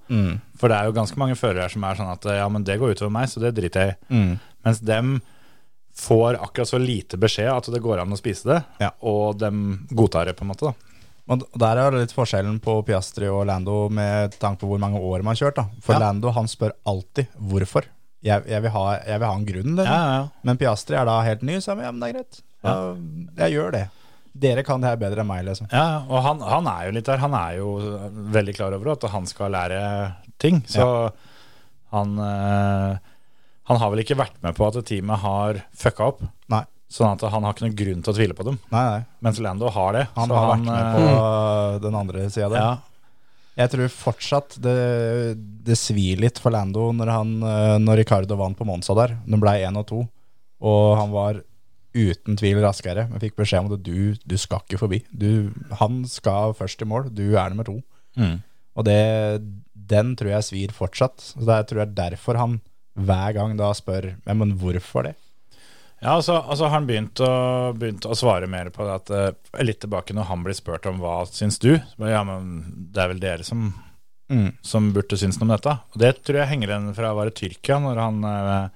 For det er jo ganske mange førere her som er sånn at eh, ja, men det går utover meg, så det driter jeg i. Mens dem får akkurat så lite beskjed at det går an å spise det, Ja. og dem godtar det, på en måte. da. Og d- der er det litt forskjellen på Piastri og Lando med tanke på hvor mange år man har kjørt. da For Ja. Lando han spør alltid hvorfor. Jeg, jeg, vil, ha, jeg vil ha en grunn. Eller? Ja, ja, ja. Men Piastri er da helt ny, så jeg, ja, men det er greit. Ja, jeg gjør det. Dere kan det her bedre enn meg, liksom. Ja, og han, han er jo litt der. Han er jo veldig klar over at han skal lære ting. Så han eh, Han har vel ikke vært med på at teamet har fucka opp. Nei, Sånn at han har ikke noen grunn til å tvile på dem. nei, nei. Mens Lando har det. Han så har vært med på eh, øh, den andre sida der. ja, Jeg tror fortsatt det, det svir litt for Lando når, han, øh, når Ricardo vant på Monza der. De ble én og to, og han var uten tvil raskere. Men fikk beskjed om at du, du skal ikke forbi. Du, han skal først i mål, du er nummer to. Mm. Og det, den tror jeg svir fortsatt. Så det er- tror jeg derfor han hver gang da spør "Ja, Men hvorfor det? ja og så og så har han begynt å, begynt å svare mer på det at eh, Litt tilbake når han blir spurt om hva syns du? Så bare, Ja, men det er vel dere som Mm. som burde synes noe om dette. Og det tror jeg henger igjen fra å være Tyrkia, når han eh,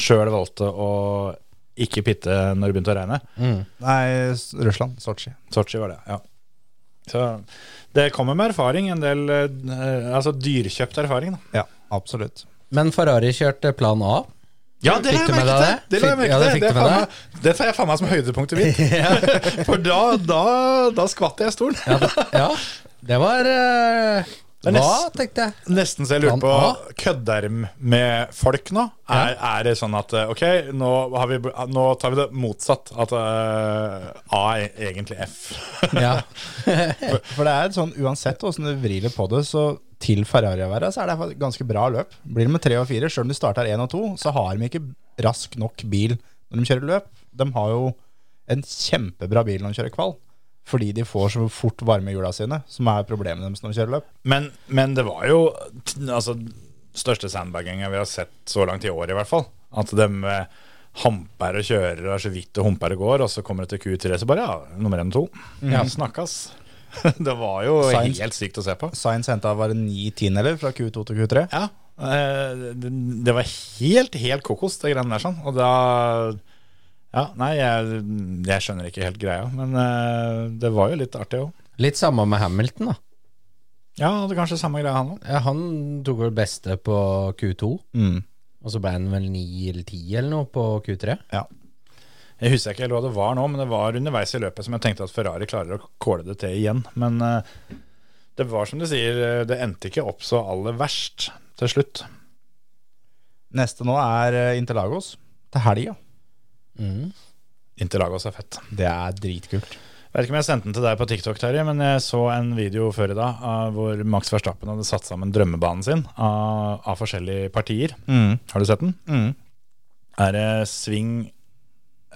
sjøl valgte å ikke pitte når det begynte å regne. Nei, S- Russland. Sotsji. Sotsji var det, ja. Så det kommer med erfaring, en del eh, altså dyrkjøpt erfaring, da. Ja, absolutt. Men Ferrari kjørte plan A. Ja, det la jeg merke til. Det la jeg merke Ja, det til. fikk Det du er med faen meg- Det tar jeg faen meg som høydepunktet mitt. *laughs* *laughs* For da, da, da skvatt jeg i stolen. Ja, *laughs* det, ja. det var eh, Det er Hva, nesten- tenkte jeg. Nesten så jeg lurer Plan på A? Kødder de med folk nå? Er, er det sånn at eh, OK, nå, har vi, nå tar vi det motsatt. At eh, A er egentlig F. *laughs* Ja. For det er sånn, uansett hvordan du vrir litt på det, så til Ferrari å være, så er det et ganske bra løp. Blir det med tre og fire, selv om de starter én og to, så har de ikke rask nok bil når de kjører løp. De har jo en kjempebra bil når de kjører kval, fordi de får så fort varme i hjula sine, som er problemet deres når de kjører løp. Men, men det var jo t- altså, største sandbagginga vi har sett så langt i år, i hvert fall. At de eh, hamper og kjører og er så vidt det humper og går, og så kommer det til Q3, så bare ja, nummer én og to. Ja, snakkes. *laughs* Det var jo Science. helt sykt å se på. Science henta bare ni tiendeler fra Q2 til Q3. Ja. eh, Det, det var helt, helt kokos, det greiene der sånn. Og da Ja, nei, jeg, jeg skjønner ikke helt greia, men eh, det var jo litt artig òg. Litt samme med Hamilton, da. Ja, hadde kanskje samme greia han òg. Ja, han tok vel beste på Q2, Mm. og så ble han vel 9 eller 10 eller noe på Q3. Ja. Jeg husker ikke helt hva det var nå, men det var underveis i løpet som jeg tenkte at Ferrari klarer å kåle det til igjen. Men eh, det var som du sier, eh, det endte ikke opp så aller verst til slutt. Neste nå er eh, Interlagos til helga. Interlagos er fett. Det er dritkult. Jeg vet ikke om jeg sendte den til deg på TikTok, Terje, men jeg så en video før i dag av hvor Max Verstappen hadde satt sammen drømmebanen sin av, av forskjellige partier. Har du sett den? Er det sving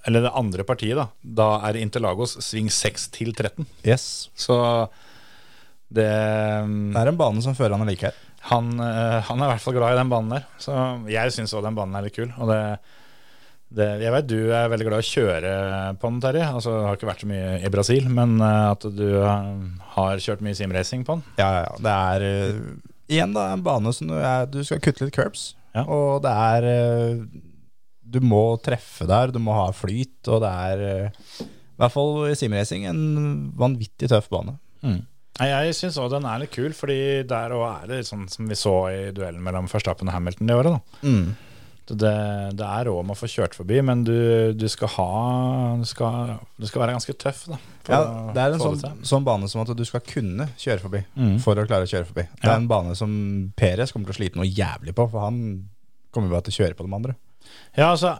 Eller det andre partiet, da. Da er det Interlagos sving 6 til 13. Yes. Så det mm, Det er en bane som førerne liker. han, eh, han er i hvert fall glad i den banen der. Så jeg syns òg den banen er litt kul. Og det, det, jeg vet du er veldig glad i å kjøre på den, Terje. Altså, det har ikke vært så mye i Brasil, men eh, at du eh, har kjørt mye simracing på den. Ja, ja, ja. Det er eh, igjen da en bane som du, er, du skal kutte litt curbs. Ja. Og det er eh, Du må treffe der, du må ha flyt, og det er eh, i hvert fall i simracing en vanvittig tøff bane. Nei, Jeg syns òg den er litt kul, fordi der òg er det litt sånn som vi så i duellen mellom Verstappen og Hamilton det året. da Mm. Så det, det er råd om å få kjørt forbi, men du, du skal ha du skal, du skal være ganske tøff. da for Ja, å det er en få det sånn, til. sånn bane som at du skal kunne kjøre forbi for å klare å kjøre forbi. Det Mm. Ja. er en bane som Perez kommer til å slite noe jævlig på, for han kommer bare til å kjøre på de andre. Ja, altså,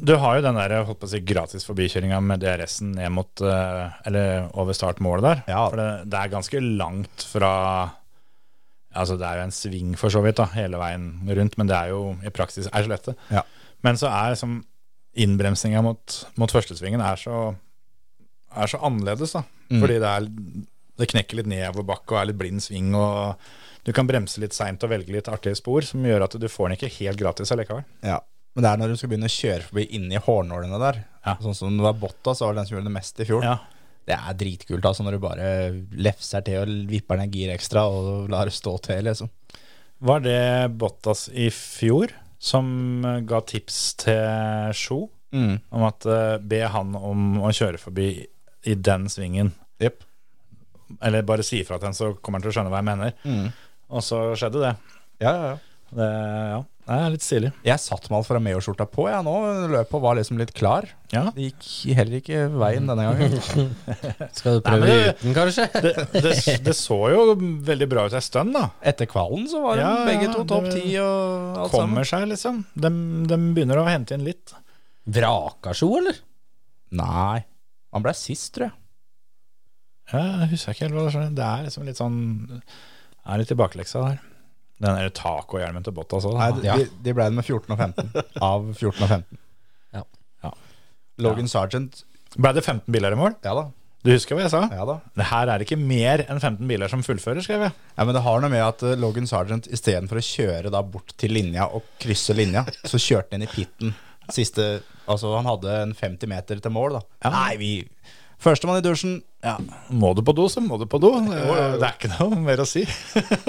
du har jo den der holdt på å si, gratis forbikjøringa med DRS-en ned mot eh, Eller over startmålet der. Ja. For det, det er ganske langt fra Altså, det er jo en sving for så vidt, da, hele veien rundt, men det er jo i praksis er skjelettet. Ja. Men så er liksom innbremsinga mot, mot førstesvingen er så, er så annerledes, da. Mm. Fordi det er det knekker litt nedover bakke og er litt blind sving, og du kan bremse litt seint og velge litt artige spor, som gjør at du får den ikke helt gratis allikevel. Ja, men det er når du skal begynne å kjøre forbi inni hårnålene der. Ja. Sånn som det var Botta, så var det den som gjorde det mest i fjor. Ja. Det er dritkult altså, når du bare lefser til og vipper ned gir ekstra og lar det stå til. liksom. Var det Bottas i fjor som eh, ga tips til Sjo om at eh, be han om å kjøre forbi i den svingen? Jep. Eller bare si ifra til han, så kommer han til å skjønne hva jeg mener. Og så skjedde det. Ja, ja, ja. Det, ja, det er litt stilig. Jeg satt med Alfa Romeo-skjorta på jeg nå. Løpet var liksom litt klar. Ja. Det gikk heller ikke veien denne gangen. Skal Nei, du prøve men det- uten, kanskje? *laughs* Det, det, det så jo veldig bra ut ei stund, da. Etter kvalen så var de Ja, ja, begge to det- topp ti og alt Kommer sammen. seg, liksom. De, de begynner å hente inn litt. Vraka Sjo, eller? Nei. Han ble sist, tror jeg. Ja, Jeg husker ikke helt hva det er. Det er liksom litt sånn Det er litt tilbakeleksa der. Den der tacohjelmen til Bottas òg. Nei, de, Ja. de- de ble det med 14 og *laughs* 15. Av 14 og 15. Ja. Ja. Logan Sergeant Ble det 15 biler i mål? Ja da. Du husker hva jeg sa? Ja da. Det her er ikke mer enn 15 biler som fullfører, skrev jeg. Ja, men det har noe med at eh, Logan Sargent istedenfor å kjøre da bort til linja og krysse *laughs* linja, så kjørte han inn i pitten. Siste, altså han hadde en 50 meter til mål, da. Nei, vi Førstemann i dusjen. Må du på do, så må du på do. Det er ikke noe mer å si.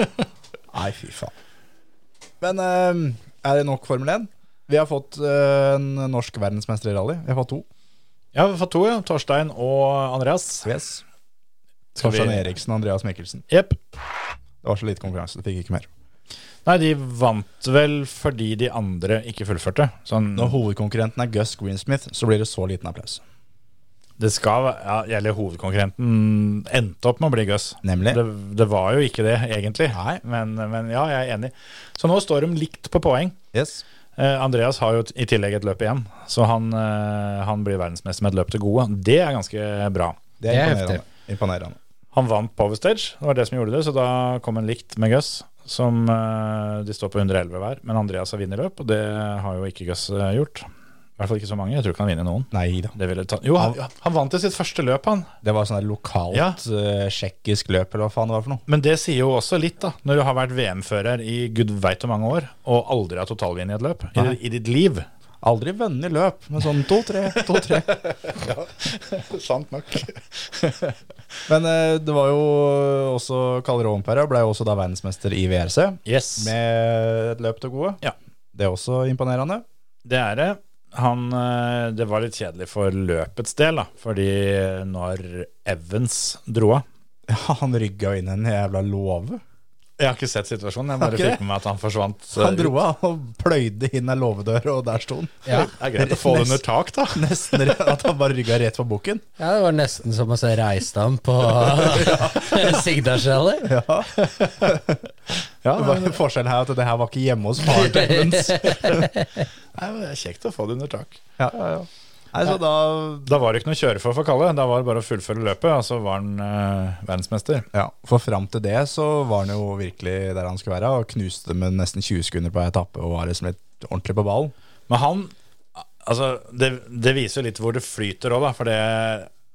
Nei, fy faen. Men eh, er det nok Formel 1? Vi har fått eh, en norsk verdensmester i rally. Vi har fått to. Ja, vi har fått to, ja. Torstein og Andreas. Yes. vi- Torstein Eriksen og Andreas Mikkelsen. Jepp. Det var så lite konkurranse, du fikk ikke mer. Nei, de vant vel fordi de andre ikke fullførte. Sånn, Mm. Når hovedkonkurrenten er Gus Greensmith, så blir det så liten applaus. det skal ja, Eller hovedkonkurrenten endte opp med å bli Gus. Nemlig. Det, det var jo ikke det, egentlig. Nei. Men, men ja, jeg er enig. Så nå står de likt på poeng. Yes. Eh, Andreas har jo t- i tillegg et løp igjen, så han, eh, han blir verdensmester med et løp til gode. Det er ganske bra. Det Det er er imponerende. imponerende. Han vant Power Stage, det var det som gjorde det, så da kom han likt med Gus, som eh, de står på 111 hver. Men Andreas har vunnet løp, og det har jo ikke Gus eh, gjort. I hvert fall ikke så mange. Jeg tror ikke han vinner noen. Nei da. Det ville ta jo, han, han vant i sitt første løp, han. Det var sånn der lokalt Ja. eh, tsjekkisk løp, eller hva faen det var for noe. Men det sier jo også litt, da. Når du har vært VM-fører i gud veit hvor mange år, og aldri har totalvunnet et løp i, i ditt liv. Aldri vunnet løp, men sånn to-tre, to-tre. Sant nok. Men eh, det var jo også Kalle Rovenpera ble jo også da verdensmester i VRC, Yes. med et løp til gode. Ja. Det er også imponerende. Det er det. Han, eh, det var litt kjedelig for løpets del, da. Fordi når Evans dro av Ja, han rygga jo inn en jævla låve. Jeg har ikke sett situasjonen, jeg bare Har ikke fikk med meg at han forsvant. Han eh, dro av og pløyde inn ei låvedør, og der sto han. Ja. ut. Det er greit å få det under tak, da. Nesten re- at han bare rygga rett for bukken. ja, det var nesten som å se Reisdam *laughs* på *laughs* Sigdalsrally. Ja, *laughs* Det var Forskjellen her er at det her *laughs* var ikke hjemme hos faren til Edmunds. det er kjekt å få det under tak. Ja, ja, ja. Nei, så da Da var det ikke noe å kjøre for for Kalle. Da var det bare å fullføre løpet, og så var han eh, verdensmester. Ja, for fram til det så var han jo virkelig der han skulle være, og knuste med nesten 20 sekunder på etappe og var liksom litt ordentlig på ballen. Men han Altså, det, det viser jo litt hvor det flyter òg, da. For det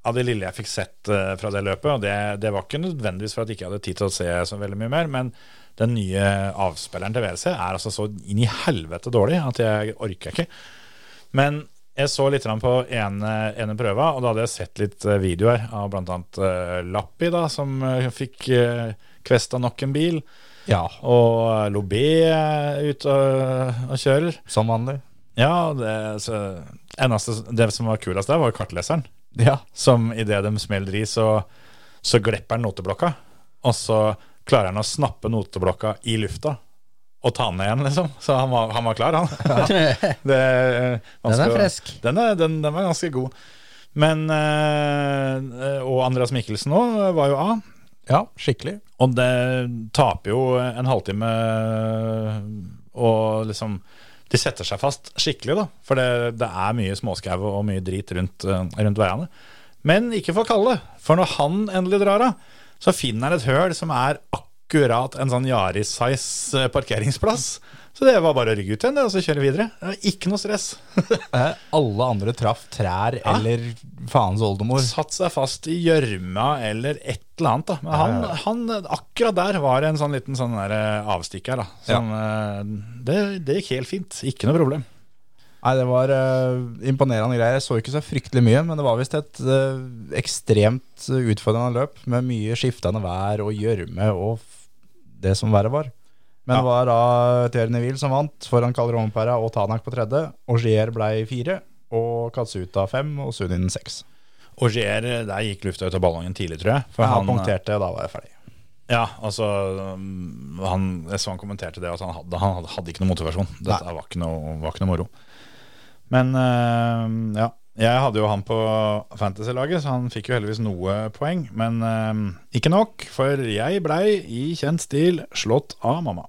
av det lille jeg fikk sett eh, fra det løpet, og det, det var ikke nødvendigvis for at jeg ikke hadde tid til å se så veldig mye mer, men den nye avspilleren til WC er altså så inn i helvete dårlig at jeg orker ikke. Men jeg så litt grann på ene, ene prøva, og da hadde jeg sett litt eh, videoer av bl.a. Lappi, da, som eh, fikk eh, kvesta nok en bil, Ja, og Lobé er ute og, og kjører. som vanlig. Ja, det, så, eneste, det som var kulest der, var jo kartleseren. Ja. Som idet de smeller i, så, så glepper han noteblokka. Og så klarer han å snappe noteblokka i lufta og ta den ned igjen, liksom. Så han var, han var klar, *laughs* han. Det, han Den er skal- fresk. Den, er, den, den var ganske god. Men eh, Og Andreas Mikkelsen òg var jo av. ja, skikkelig. Og det taper jo en halvtime eh, Og liksom De setter seg fast skikkelig da For det, det er mye småskau og mye drit rundt, eh, rundt veiene Men ikke for Kalle For når han endelig drar av Så finner han et høl som er akkurat En sånn Yaris-size eh, parkeringsplass Så det var bare å rygge ut igjen det, Og så kjøre videre Det var Ikke noe stress *laughs* Eh, alle andre traff trær eller faens oldemor. Satt seg fast i gjørma eller et eller annet. Da. Men han, han, akkurat der var det en sånn liten sånn der, eh, avstikker. Da. Sånn, eh, det, det gikk helt fint. Ikke noe problem. Nei, det var eh, imponerende greier. Jeg så ikke så fryktelig mye, men det var visst et eh, ekstremt eh, utfordrende løp med mye skiftende vær og gjørme og f det som verre var. Men Ja. det var da Thierry Neville som vant foran Kalle Rompera og Tanak på tredje. Og Gier blei fire, og Katsuta fem, og Sunin seks. Augier, eh, der gikk lufta ut av ballongen tidlig, tror jeg. For Men han han, eh, punkterte, og da var jeg ferdig. ja, altså, um, han, jeg så han kommenterte det, at han hadde, han hadde- hadde ikke noe motivasjon. Dette var ikke noe, var ikke noe moro. Men eh, ja. Jeg hadde jo han på fantasy-laget, så han fikk jo heldigvis noe poeng. Men eh, ikke nok, for jeg blei i kjent stil slått av mamma.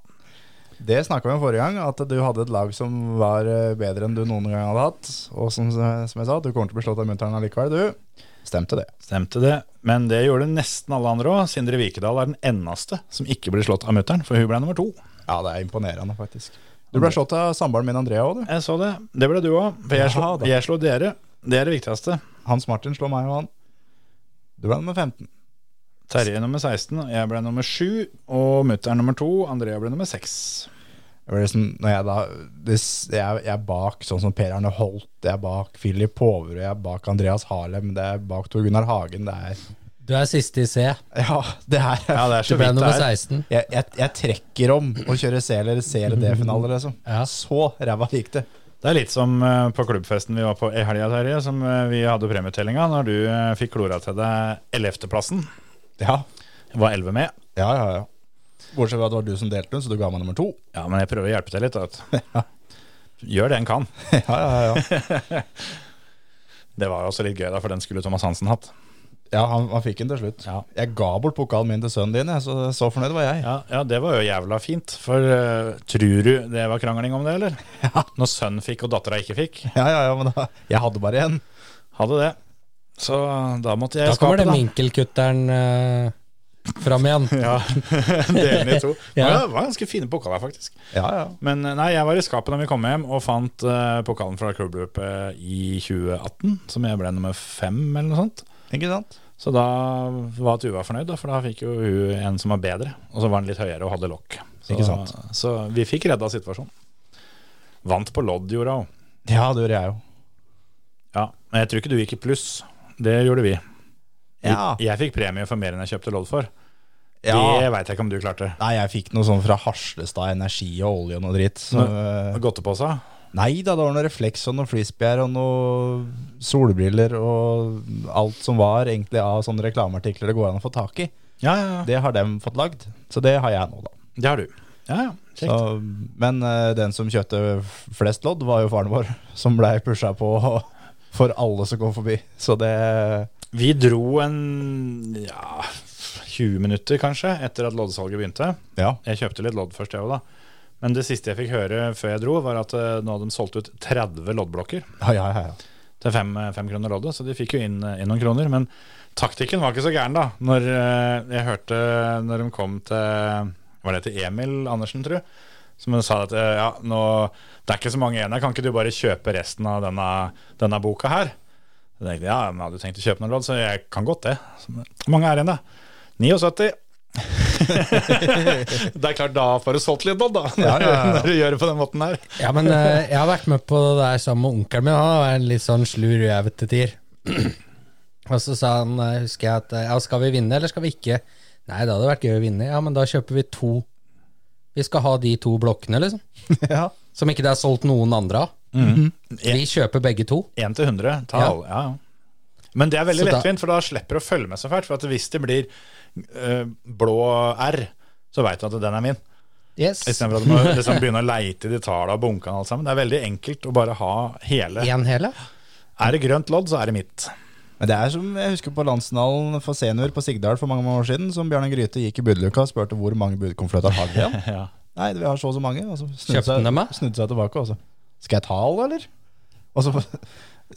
Det snakka vi om forrige gang, at du hadde et lag som var eh, bedre enn du noen gang hadde hatt. Og som, som jeg sa, du kommer til å bli slått av munteren allikevel, du. Stemte det. Stemte det. Men det gjorde nesten alle andre òg. Sindre Vikedal er den eneste som ikke blir slått av mutter'n, for hun ble nummer to. Ja, det er imponerende, faktisk. Du ble slått av samboeren min Andrea òg, du. Jeg så det. Det ble du òg. For jeg slo, Ja da. jeg slo dere. Det er det viktigste. Hans Martin slår meg og han. Du ble nummer 15. Terje nummer 16, jeg ble nummer 7, og mutter'n nummer 2. Andrea ble nummer 6. Jeg ble liksom, når jeg da det, s- jeg, jeg er bak sånn som Per Arne Holt, jeg er bak Philip Håverud, jeg er bak Andreas Harlem, det er bak Tor Gunnar Hagen, det er *laughs* Du er siste i C. Ja, det er, det er Du ble nummer 16. Jeg, jeg, jeg trekker om å kjøre C eller C eller D-finaler, liksom. Så ræva gikk det. Det er litt som eh, på klubbfesten vi var på i helga, Terje, som eh, vi hadde premietellinga, når du eh, fikk klora til deg 11.-plassen. Ja, Var 11 med. ja, ja. ja. Bortsett fra at det var du som delte den, så du ga meg nummer to. Ja, men jeg prøver å hjelpe til litt. *laughs* Da. Gjør det en kan. Ja, ja, ja. Det var jo også litt gøy, da, for den skulle Thomas Hansen hatt. *laughs* ja han, han fikk den til slutt. Ja. Jeg ga bort pokalen min til sønnen din, jeg, så så fornøyd var jeg. Ja, ja, det var jo jævla fint. For eh, tror du det var krangling om det, *laughs* eller? Når sønnen fikk og dattera ikke fikk. Ja, ja, ja, men da, jeg hadde bare en. Hadde det. Så da måtte jeg Da skape, kommer det da. minkelkutteren eh, fram igjen. *laughs* Ja, Delen i to. Det *laughs* Ja. var, var ganske fine pokaler, faktisk. Ja, ja. Men eh, nei, jeg var i skapet da vi kom hjem og fant eh, pokalen fra klubbløpet i 2018, som jeg ble nummer fem, eller noe sånt. Ikke sant? Så da var Tuva fornøyd, da, for da fikk jo hun en som var bedre. Og så var den litt høyere og hadde lokk. Så, Ikke sant. så vi fikk redda situasjonen. Vant på lodd, gjorde hun. Ja, det gjorde jeg jo. Ja, men jeg tror ikke du gikk i pluss. Det gjorde vi. Ja. Jeg, jeg fikk premie for mer enn jeg kjøpte lodd for. Ja. Det veit jeg ikke om du klarte. Nei, jeg fikk noe sånn fra Harslestad Energi og olje og noe dritt. Så, eh, Godtepose? nei da, det var noe refleks og noe flisbjær og noe solbriller og alt som var egentlig av sånne reklameartikler det går an å få tak i. Ja, ja, ja. Det har dem fått lagd, så det har jeg nå, da. Det har du. Ja, ja. Så, Kjekt. men eh, den som kjøpte flest lodd, var jo faren vår, som blei pusha på *laughs* for alle som kom forbi. Så det Vi dro en ja, 20 minutter, kanskje, etter at loddsalget begynte. Ja. Jeg kjøpte litt lodd først, jeg òg, da. Men det siste jeg fikk høre før jeg dro, var at eh, nå hadde de solgt ut 30 loddblokker. Ja, ja, ja. ja. til fem, eh, fem kroner loddet, så de fikk jo inn, eh, inn noen kroner. Men taktikken var ikke så gæren, da. Når eh, jeg hørte når de kom til Var det til Emil Andersen, tru? Som hun sa at eh, ja, nå, det er ikke så mange igjen her, kan ikke du bare kjøpe resten av denne, denne boka her? Så tenkte jeg, ja, men jeg hadde jo tenkt å kjøpe noen lodd, så jeg kan godt det. Så, Hvor mange er igjen, da? 79. *laughs* det er klart, da får du solgt litt lodd, da. Når du gjør det på den måten her. Ja, men eh, jeg har vært med på det der sammen med onkelen min. Han var en litt sånn slur jævel til tider. *clears throat* Og så sa han, eh, husker jeg, at eh, ja, skal vi vinne, eller skal vi ikke? Nei, det hadde vært gøy å vinne. Ja, men da kjøper vi to. Vi skal ha de to blokkene, liksom. *laughs* Ja. Som ikke det er solgt noen andre av. Mm. Vi kjøper begge to. 1 til 100. Ta Ja. alle. Ja. ja. Men det er veldig Så da- lettvint, for da slipper du å følge med så fælt. For at hvis det blir eh, blå R, så veit du at den er min. Yes. Istedenfor at du må liksom begynne å leite i de tallene og bunkene og alt sammen. Det er veldig enkelt å bare ha hele. En hele? Er det grønt lodd, så er det mitt. Men det er som jeg husker på landsfinalen for senior på Sigdal for mange mange år siden, som Bjarne Grythe gikk i budluka og spurte hvor mange budkonvolutter har vi *laughs* igjen. Ja. Nei, vi har så og så mange. Og så Kjøpte snudde seg, den dem, da? snudde seg tilbake og så Skal jeg ta alle, eller? Og så *laughs*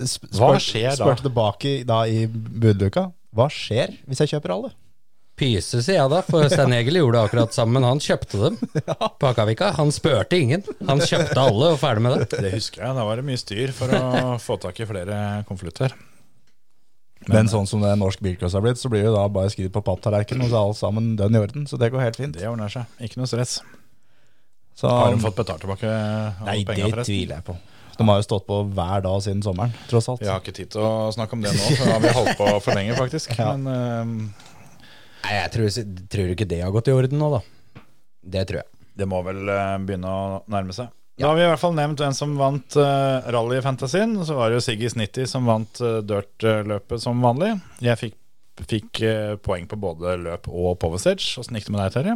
sp Hva spør- skjer da? spurte tilbake i- da i budluka. Hva skjer hvis jeg kjøper alle? Pyse, sier jeg da, for Stein Egil gjorde det akkurat sammen. Han kjøpte dem på Akavika. Han spurte ingen. Han kjøpte alle og ferdig med det. Det husker jeg. Da var det mye styr for å få tak i flere konvolutter. Men, eh, sånn som det norsk bilcross har blitt, så blir det da bare skrevet på papptallerkenen, og så er alt sammen dønn i orden. Så det går helt fint. Det ordner seg. Ikke noe stress. Så, Har de fått betalt tilbake alle Nei, det penga, forresten? tviler jeg på. De har jo stått på hver dag siden sommeren, tross alt. Vi har ikke tid til å snakke om det nå, for da har vi holdt på for lenge, faktisk. Men eh, Nei, jeg tror, tror du ikke det har gått i orden nå, da? Det tror jeg. Det må vel eh, begynne å nærme seg. Da har vi i hvert fall nevnt en som vant uh, rallyfantasien. og Så var det jo Siggis 90 som vant uh, dirt-løpet som vanlig. Jeg fikk, fikk eh, poeng på både løp og powerstage. Åssen gikk det med deg, Terje?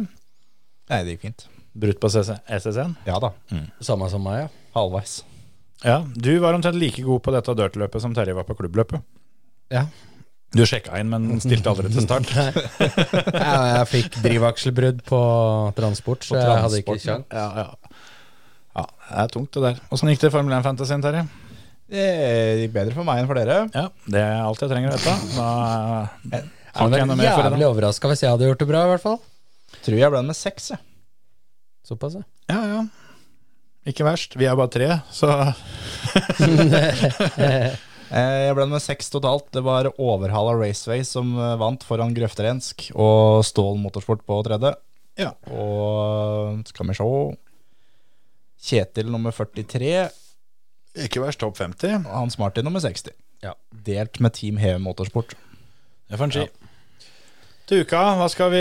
Nei, det gikk fint. Brutt på E CC SSN? Ja da. Samme som meg, ja. Halvveis. Ja, du var omtrent like god på dette dirt-løpet som Terje var på klubbløpet. Ja. Du sjekka inn, men stilte aldri til *laughs* start. Jeg, jeg fikk drivakselbrudd på transport, så jeg hadde ikke kjangs. ja, ja. ja, det er tungt, det der. Åssen gikk det i Formel 1-fantasien, Terje? Det gikk bedre for meg enn for dere. Ja, det er alt jeg trenger å vite. Da eh, har Jeg ikke jeg var noe mer for i dag. jævlig overraska hvis jeg hadde gjort det bra, i hvert fall. Tror jeg ble med seks, jeg. Såpass, ja. Ja, ja. Ikke verst. Vi er bare tre, så Eh, Jeg ble med seks totalt. Det var Overhalla Raceway som eh, vant foran Grøfterensk og Stål Motorsport på tredje. Ja. Og eh, skal vi se Kjetil nummer 43 Ikke verst topp 50. og Hans Martin nummer 60. Ja. Delt med Team Heve Motorsport. Det får en si. Til uka, hva skal vi,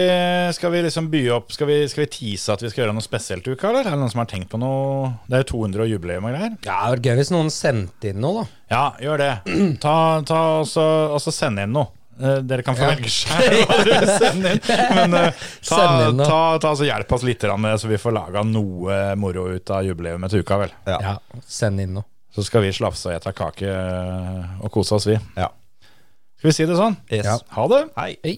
skal vi liksom by opp? Skal vi, skal vi tease at vi skal gjøre noe spesielt til uka, eller? Er det noen som har tenkt på noe? Det er jo 200 og jubileum og greier. Ja, Det hadde vært gøy hvis noen sendte inn noe, da. Ja, gjør det. *clears throat* Ta, ta og så og så send inn noe. Eh, Dere kan få Ja. velge sjøl hva dere vil sende inn. Men *laughs* eh, ta, Send inn noe. ta, ta, altså hjelp oss litt grann med det, så vi får laga noe moro ut av jubileet til uka, vel. Ja. Ja, send inn noe. Så skal vi slafse og ete kake eh, og kose oss, vi. Ja. Skal vi si det sånn? Yes. Ha det! Hei. Hei.